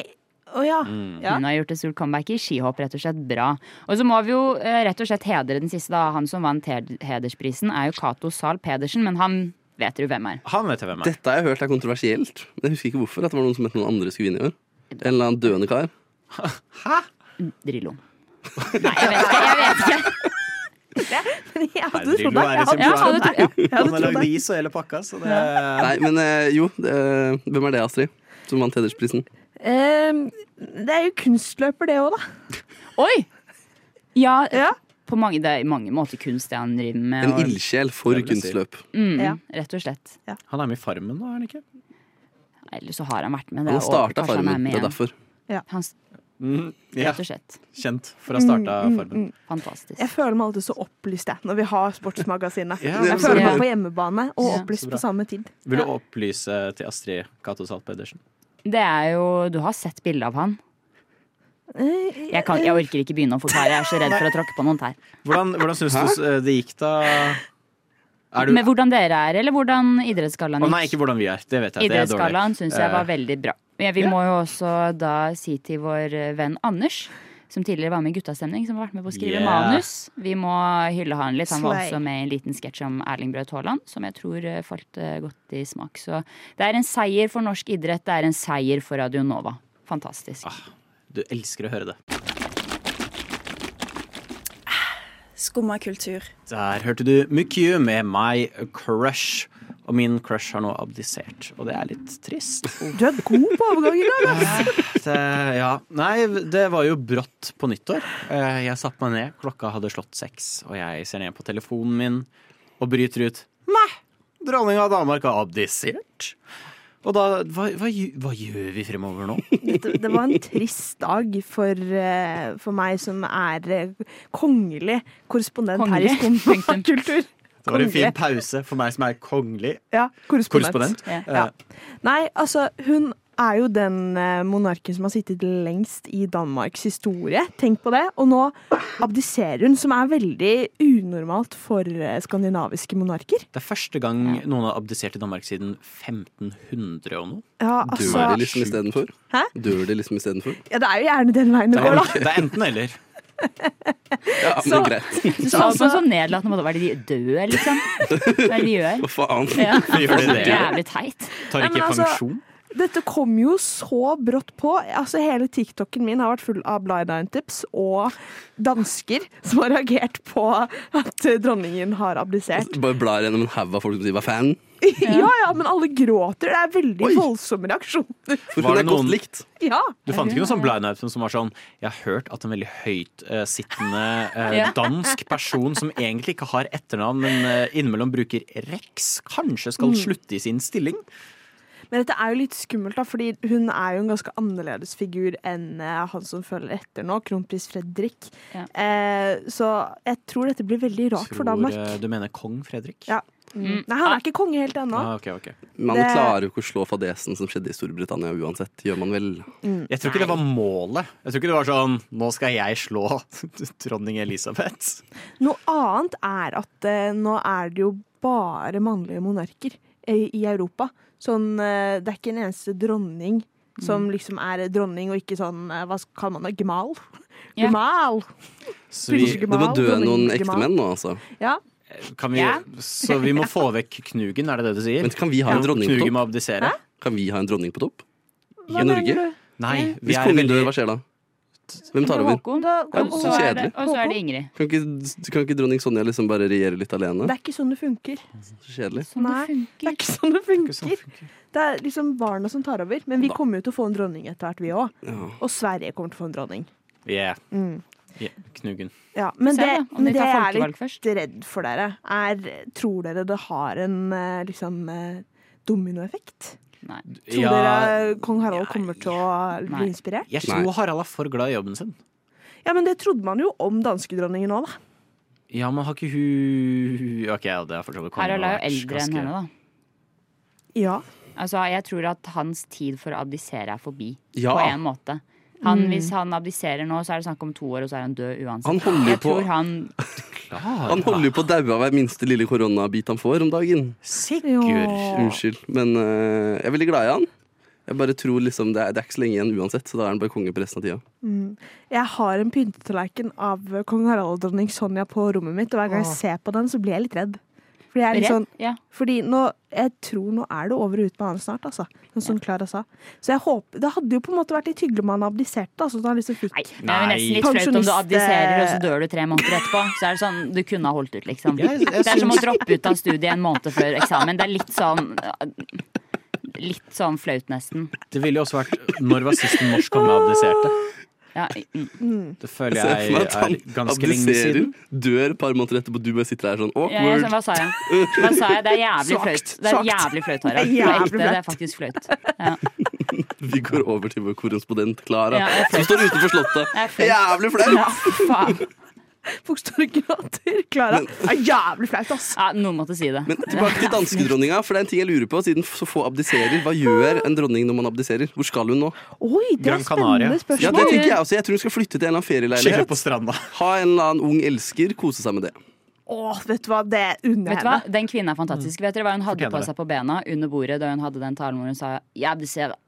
Speaker 5: å ja.
Speaker 3: Mm.
Speaker 5: ja.
Speaker 4: Hun har gjort et stort comeback i skihopp, rett og slett bra. Og så må vi jo eh, rett og slett hedre den siste, da. Han som vant hed- hedersprisen, er jo Cato Zahl Pedersen, men han vet du hvem er.
Speaker 3: Han vet jeg hvem er.
Speaker 6: Dette har jeg hørt er kontroversielt. Men Jeg husker ikke hvorfor. At det var noen som mente noen andre skulle vinne i år. En eller annen døende kar.
Speaker 4: Drillo. Nei, jeg vet ikke. Jeg vet ikke.
Speaker 5: Men jeg hadde
Speaker 3: Nei,
Speaker 5: trodd
Speaker 3: Drillo
Speaker 5: deg.
Speaker 3: er
Speaker 5: Jeg hadde
Speaker 4: Ja,
Speaker 3: eksemplar.
Speaker 5: trodd
Speaker 4: hadde, tro-
Speaker 5: deg.
Speaker 4: ja.
Speaker 5: Jeg hadde
Speaker 3: Han har
Speaker 5: trodd
Speaker 3: lagd
Speaker 5: deg.
Speaker 3: is og hele pakka, så det er
Speaker 6: Nei, men eh, jo. det, eh, hvem er det, Astrid? Som vant hedersprisen?
Speaker 5: Ehm, Det er jo kunstløper, det òg, da.
Speaker 4: Oi! Ja,
Speaker 5: Ja.
Speaker 4: På mange, det er i mange måter kunst det han driver med.
Speaker 6: En
Speaker 4: og-
Speaker 6: ildsjel for
Speaker 3: Det vil jeg si.
Speaker 6: kunstløp.
Speaker 4: Mm,
Speaker 5: Ja.
Speaker 4: Rett og slett.
Speaker 3: Han er med i Farmen nå, er han ikke?
Speaker 4: Eller så har han vært med. det er
Speaker 6: Han har starta
Speaker 4: åpenbart han er
Speaker 6: Farmen.
Speaker 4: med
Speaker 6: Det er
Speaker 4: igjen.
Speaker 6: derfor.
Speaker 4: Han, s-
Speaker 3: Ja,
Speaker 4: rett og slett.
Speaker 3: kjent for å ha
Speaker 5: Mm,
Speaker 3: starta Farmen.
Speaker 4: Fantastisk.
Speaker 5: Jeg føler meg alltid så opplyst jeg, når vi har Sportsmagasinet.
Speaker 3: Ja,
Speaker 5: Jeg
Speaker 6: det er
Speaker 4: så
Speaker 5: føler
Speaker 4: bra.
Speaker 5: meg på hjemmebane og
Speaker 4: Ja.
Speaker 5: opplyst
Speaker 3: Så bra.
Speaker 5: på samme tid.
Speaker 3: Vil du opplyse til Astrid Cato Zahl Pedersen?
Speaker 4: Det er jo Du har sett bilde av han. Jeg, kan, jeg orker ikke begynne å forklare. Jeg er så redd for å tråkke på noen tær.
Speaker 3: Hvordan, hvordan syns du s- eh, det gikk, da? Er du
Speaker 4: Men hvordan dere er, eller hvordan Idrettsgallaen
Speaker 3: Å nei, ikke hvordan vi er. Det vet jeg. Det er dårlig.
Speaker 4: Idrettsgallaen syns jeg var
Speaker 3: Eh,
Speaker 4: veldig bra. Men vi må jo også da si til vår eh, venn Anders, som tidligere var med i Guttastemning, som har vært med på å skrive
Speaker 3: Yeah.
Speaker 4: manus. Vi må hylle han litt. Han var
Speaker 5: Slay.
Speaker 4: også med i en liten sketsj om Erling Braut Haaland, som jeg tror eh, falt eh, godt i smak. Så det er en seier for norsk idrett, det er en seier for Radio Nova. Fantastisk.
Speaker 3: Du elsker å høre det.
Speaker 12: Skumma kultur.
Speaker 3: Der hørte du Mykyu med My Crush. Og min crush har nå abdisert, og det er litt trist.
Speaker 5: Du er god på overgang i dag, ass!
Speaker 3: Det, ja. Nei, det var jo brått på nyttår. Eh, Jeg satte meg ned, klokka hadde slått seks, og jeg ser ned på telefonen min og bryter ut Nei! Dronninga av Danmark har abdisert. Og da Hva, hva, gj- hva gjør vi fremover nå?
Speaker 5: Dette, det var en trist dag for, eh, for meg som er eh, kongelig korrespondent
Speaker 3: Kongelig.
Speaker 5: her i Skumma kultur.
Speaker 3: Det var en fin
Speaker 5: Kongelig.
Speaker 3: pause for meg som er kongelig.
Speaker 5: Ja, korrespondent.
Speaker 3: Korrespondent.
Speaker 5: Ja.
Speaker 3: Eh,
Speaker 5: Nei, altså, hun er jo den eh, monarken som har sittet lengst i Danmarks historie. Tenk på det. Og nå abdiserer hun, som er veldig unormalt for eh, skandinaviske monarker.
Speaker 3: Det er første gang noen har abdisert i Danmark siden 1500 og noe.
Speaker 5: Ja,
Speaker 6: Dør
Speaker 5: altså
Speaker 6: de liksom istedenfor?
Speaker 5: Hæ?
Speaker 6: Dør de liksom istedenfor?
Speaker 5: ja, Det er jo gjerne den veien det går, da.
Speaker 3: Det er enten eller.
Speaker 6: Ja, men det er greit.
Speaker 4: Du sa det på en sånn nedlatende måte. Hva er det de dør, liksom? Hva er det de gjør?
Speaker 6: Hva faen?
Speaker 4: Ja.
Speaker 3: Gjør de det?
Speaker 4: Jævlig teit.
Speaker 3: Tar
Speaker 5: Nei, men
Speaker 3: ikke
Speaker 5: altså-
Speaker 3: pensjon.
Speaker 5: Dette kom jo så brått på. Altså Hele TikToken min har vært full av blind iron-tips og dansker som har reagert på at eh, dronningen har abdisert.
Speaker 6: Bare blar gjennom en haug av folk som sier 'hva faen'?
Speaker 5: Altså, Ja ja, men alle gråter. Det er veldig voldsomme reaksjoner.
Speaker 6: For
Speaker 3: Var
Speaker 6: hun er
Speaker 3: det noen-
Speaker 6: godt likt.
Speaker 5: Ja.
Speaker 3: Du fant ikke noen sånn blind item som var sånn Jeg har hørt at en veldig høyt eh, sittende eh,
Speaker 4: Ja.
Speaker 3: dansk person som egentlig ikke har etternavn, men eh, innimellom bruker Rex, kanskje skal
Speaker 5: Mm.
Speaker 3: slutte i sin stilling?
Speaker 5: Men dette er jo litt skummelt, da, fordi hun er jo en ganske annerledes figur enn eh, han som følger etter nå, kronprins Fredrik. Eh, så jeg tror dette blir veldig rart for
Speaker 3: Tror,
Speaker 5: Danmark.
Speaker 3: eh, du mener kong Fredrik?
Speaker 5: Ja. Mm. Nei, han er ikke konge helt ennå.
Speaker 3: Ah, ok, ok.
Speaker 6: Man
Speaker 5: Det-
Speaker 6: klarer jo ikke å slå fadesen som skjedde i Storbritannia uansett. Gjør man vel?
Speaker 3: Jeg tror ikke det var målet. Jeg tror ikke det var sånn Nå skal jeg slå dronning Elisabeth.
Speaker 5: Noe annet er at eh, nå er det jo bare mannlige monarker eh, i Europa. Sånn, eh, det er ikke en eneste dronning som liksom er dronning, og ikke sånn eh, Hva kaller man det? Gemal?
Speaker 6: Ja.
Speaker 5: Gemal!
Speaker 3: Så vi,
Speaker 6: Det må dø noen ekte menn nå, altså.
Speaker 5: Ja.
Speaker 3: kan vi,
Speaker 5: Ja.
Speaker 3: så vi må få vekk Knugen, er det det du sier?
Speaker 6: Men kan vi ha en
Speaker 3: Ja.
Speaker 6: dronning på
Speaker 3: Knugen må
Speaker 6: topp?
Speaker 3: abdisere.
Speaker 6: Kan vi ha en dronning på topp?
Speaker 5: Hva
Speaker 6: I Norge?
Speaker 5: mener du?
Speaker 3: Nei, vi
Speaker 6: Hvis
Speaker 3: er
Speaker 6: kongen
Speaker 3: veldig-
Speaker 6: dør, hva skjer da? Hvem tar over?
Speaker 4: Håkon,
Speaker 6: Ja,
Speaker 4: og
Speaker 6: så
Speaker 4: så er det,
Speaker 6: kjedelig.
Speaker 4: og så er det Ingrid.
Speaker 6: Kan ikke, kan ikke dronning Sonja liksom bare regjere litt alene?
Speaker 5: Det er ikke sånn det funker.
Speaker 6: Så kjedelig.
Speaker 5: Nei, det er ikke sånn det funker. Det er liksom barna som tar over. Men vi kommer jo til å få en dronning etter hvert, vi òg.
Speaker 6: Ja.
Speaker 5: Og Sverige kommer til å få en dronning.
Speaker 3: Yeah.
Speaker 5: Mm.
Speaker 3: Yeah. Knugen.
Speaker 5: Ja, men
Speaker 4: Se
Speaker 5: det,
Speaker 4: da, om
Speaker 5: men
Speaker 4: de
Speaker 5: det
Speaker 4: tar
Speaker 5: jeg er
Speaker 4: folkevalg
Speaker 5: litt redd for dere, er Tror dere det har en eh, liksom eh, dominoeffekt?
Speaker 4: Nei.
Speaker 5: Tror
Speaker 3: Ja.
Speaker 5: dere eh, kong Harald kommer til å bli inspirert?
Speaker 3: Jeg tror Harald er for glad i jobben sin.
Speaker 5: Ja, men det trodde man jo om danskedronningen òg, da.
Speaker 3: Ja, men har ikke hun Ok, ja, det er for så vidt kongen
Speaker 4: Harald er
Speaker 3: har
Speaker 4: jo
Speaker 3: vært
Speaker 4: eldre enn
Speaker 3: ganske-
Speaker 4: henne, da.
Speaker 5: Ja.
Speaker 4: Altså, jeg tror at hans tid for å abdisere er forbi.
Speaker 6: Ja.
Speaker 4: På en måte. Han,
Speaker 6: Mm.
Speaker 4: Hvis han abdiserer nå, så er det snakk om to år, og så er han død uansett.
Speaker 6: Han holder jo
Speaker 4: jeg
Speaker 6: på-
Speaker 4: tror han
Speaker 6: Han holder jo på å daue av hver minste lille koronabit han får om dagen. Unnskyld. Men eh, jeg er veldig glad i han. Jeg bare tror liksom det er, det er ikke så lenge igjen uansett, så da er han bare konge på resten av tida.
Speaker 5: Mm. Jeg har en pyntetallerken av eh, kong Harald og dronning Sonja på rommet mitt, og hver gang jeg
Speaker 4: Åh.
Speaker 5: ser på den, så blir jeg litt redd. Fordi, jeg er litt
Speaker 4: Redd?
Speaker 5: sånn, fordi nå, jeg tror nå er det over og ut med han snart, altså. Sånn som Klara sa. Så jeg håper, det hadde jo på en måte vært litt hyggelig om han abdiserte, da, sånn at han liksom fikk
Speaker 4: Det er jo nesten litt flaut om du abdiserer, altså. og så
Speaker 6: eh,
Speaker 4: dør du tre måneder etterpå. Så er det sånn, du kunne ha holdt ut, liksom.
Speaker 5: Jeg- jeg
Speaker 4: det er som å
Speaker 5: syns-
Speaker 4: droppe ut av studiet en måned før eksamen. Det er litt sånn Litt sånn flaut, nesten.
Speaker 3: Det ville jo også vært Når var sist en norsk konge abdiserte?
Speaker 4: Ja, mm.
Speaker 3: Det føler jeg er ganske lenge
Speaker 6: abdiserer,
Speaker 3: siden.
Speaker 6: dør et par måneder etterpå, du bare sitter her sånn
Speaker 4: Ja, jeg,
Speaker 6: awkward.
Speaker 4: hva sa jeg? Hva sa jeg? Det er jævlig
Speaker 6: Svakt,
Speaker 4: flaut. Det er
Speaker 6: svakt.
Speaker 4: jævlig flaut,
Speaker 6: Det er
Speaker 4: Harald. Det er,
Speaker 6: jævlig
Speaker 4: ekte, det er
Speaker 6: flaut.
Speaker 4: faktisk flaut.
Speaker 6: Vi går over til vår korrespondent Klara,
Speaker 4: Ja, jeg er
Speaker 6: som
Speaker 4: flau.
Speaker 6: står utenfor Slottet.
Speaker 4: Det er flaut.
Speaker 6: Jævlig flaut!
Speaker 4: Ja, faen.
Speaker 5: Folk står og gråter. Klara. Det er jævlig flaut, ass.
Speaker 4: Ja, noen måtte si det.
Speaker 6: Men Tilbake til danskedronninga, for det er en ting jeg lurer på. Siden så få abdiserer, hva gjør en dronning når man abdiserer? Hvor skal hun nå?
Speaker 5: Oi, det er
Speaker 6: Gran Canaria.
Speaker 5: spennende spørsmål.
Speaker 6: Ja, det tenker jeg også. Jeg tror hun skal flytte til en eller annen
Speaker 3: Chille
Speaker 6: ferieleilighet.
Speaker 3: på stranda.
Speaker 6: Ha en eller annen ung elsker, kose seg med det.
Speaker 5: Åh, vet du hva, det unner
Speaker 4: Vet
Speaker 5: jeg
Speaker 4: du hva?
Speaker 5: henne.
Speaker 4: Den kvinnen er fantastisk. Vet dere hva hun hadde
Speaker 5: Fortjener
Speaker 4: på
Speaker 5: det.
Speaker 4: seg på bena under bordet da hun hadde den talen hvor hun sa 'jeg abdiserer'?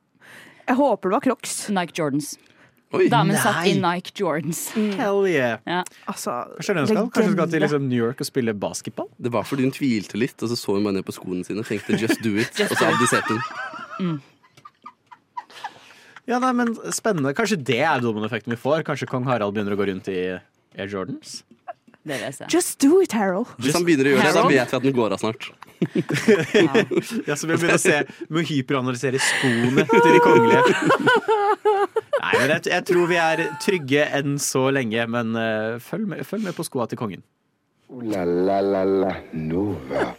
Speaker 5: Jeg håper det var Crocs.
Speaker 4: Nike Jordans.
Speaker 6: Oi.
Speaker 4: Damen
Speaker 3: Nei.
Speaker 4: satt i Nike Jordans.
Speaker 6: Mm.
Speaker 3: Hell yeah.
Speaker 4: Ja.
Speaker 5: Altså,
Speaker 3: Kanskje hun skal, kanskje hun skal til liksom New York og spille basketball?
Speaker 6: Det var fordi hun tvilte litt, og så så hun bare ned på skoene sine og tenkte 'just do it', og så abdiserte hun.
Speaker 3: Ja, nei, men Spennende. Kanskje det er dominoeffekten vi får? Kanskje kong Harald begynner å gå rundt i Air Jordans?
Speaker 4: Det vil jeg se.
Speaker 5: Just do it, Harold.
Speaker 6: Hvis han begynner å gjøre det, da
Speaker 3: Harold?
Speaker 6: vet vi at den går av snart.
Speaker 3: Ja, så vi begynner å se med å hyperanalysere skoene til de kongelige. Nei, men jeg, jeg tror vi er trygge enn så lenge, men eh, følg, med, følg med på skoa til kongen.
Speaker 2: Ooh la la la la Nova.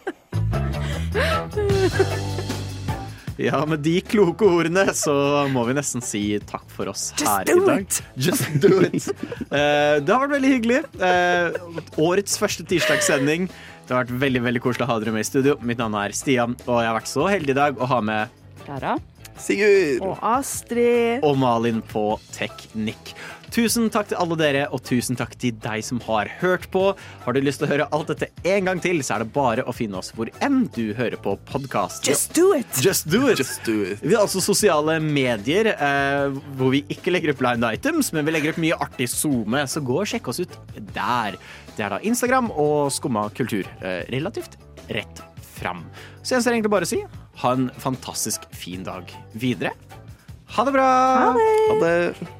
Speaker 3: Ja, med de kloke ordene så må vi nesten si takk for oss her i
Speaker 5: do
Speaker 3: dag.
Speaker 5: it.
Speaker 3: Just do it! Eh, det har vært veldig hyggelig. Eh, årets første tirsdagssending. Det har vært veldig veldig koselig å ha dere med i studio. Mitt navn er Stian, og jeg har vært så heldig i dag å ha med
Speaker 4: Klara?
Speaker 6: Sigurd!
Speaker 5: Og Astrid.
Speaker 3: og Malin på teknikk. Tusen takk til alle dere, og tusen takk til deg som har hørt på. Har du lyst til å høre alt dette en gang til, så er det bare å finne oss hvor enn du hører på podkast.
Speaker 5: Just do it.
Speaker 3: Just do it!
Speaker 6: Just do it.
Speaker 3: Vi har altså sosiale medier eh, hvor vi ikke legger opp blind items, men vi legger opp mye artig SoMe, så gå og sjekk oss ut der. Det er da Instagram og Skumma kultur. Eh, relativt rett fram. Så gjenstår egentlig bare å si ha en fantastisk fin dag videre. Ha det bra!
Speaker 6: Ha det.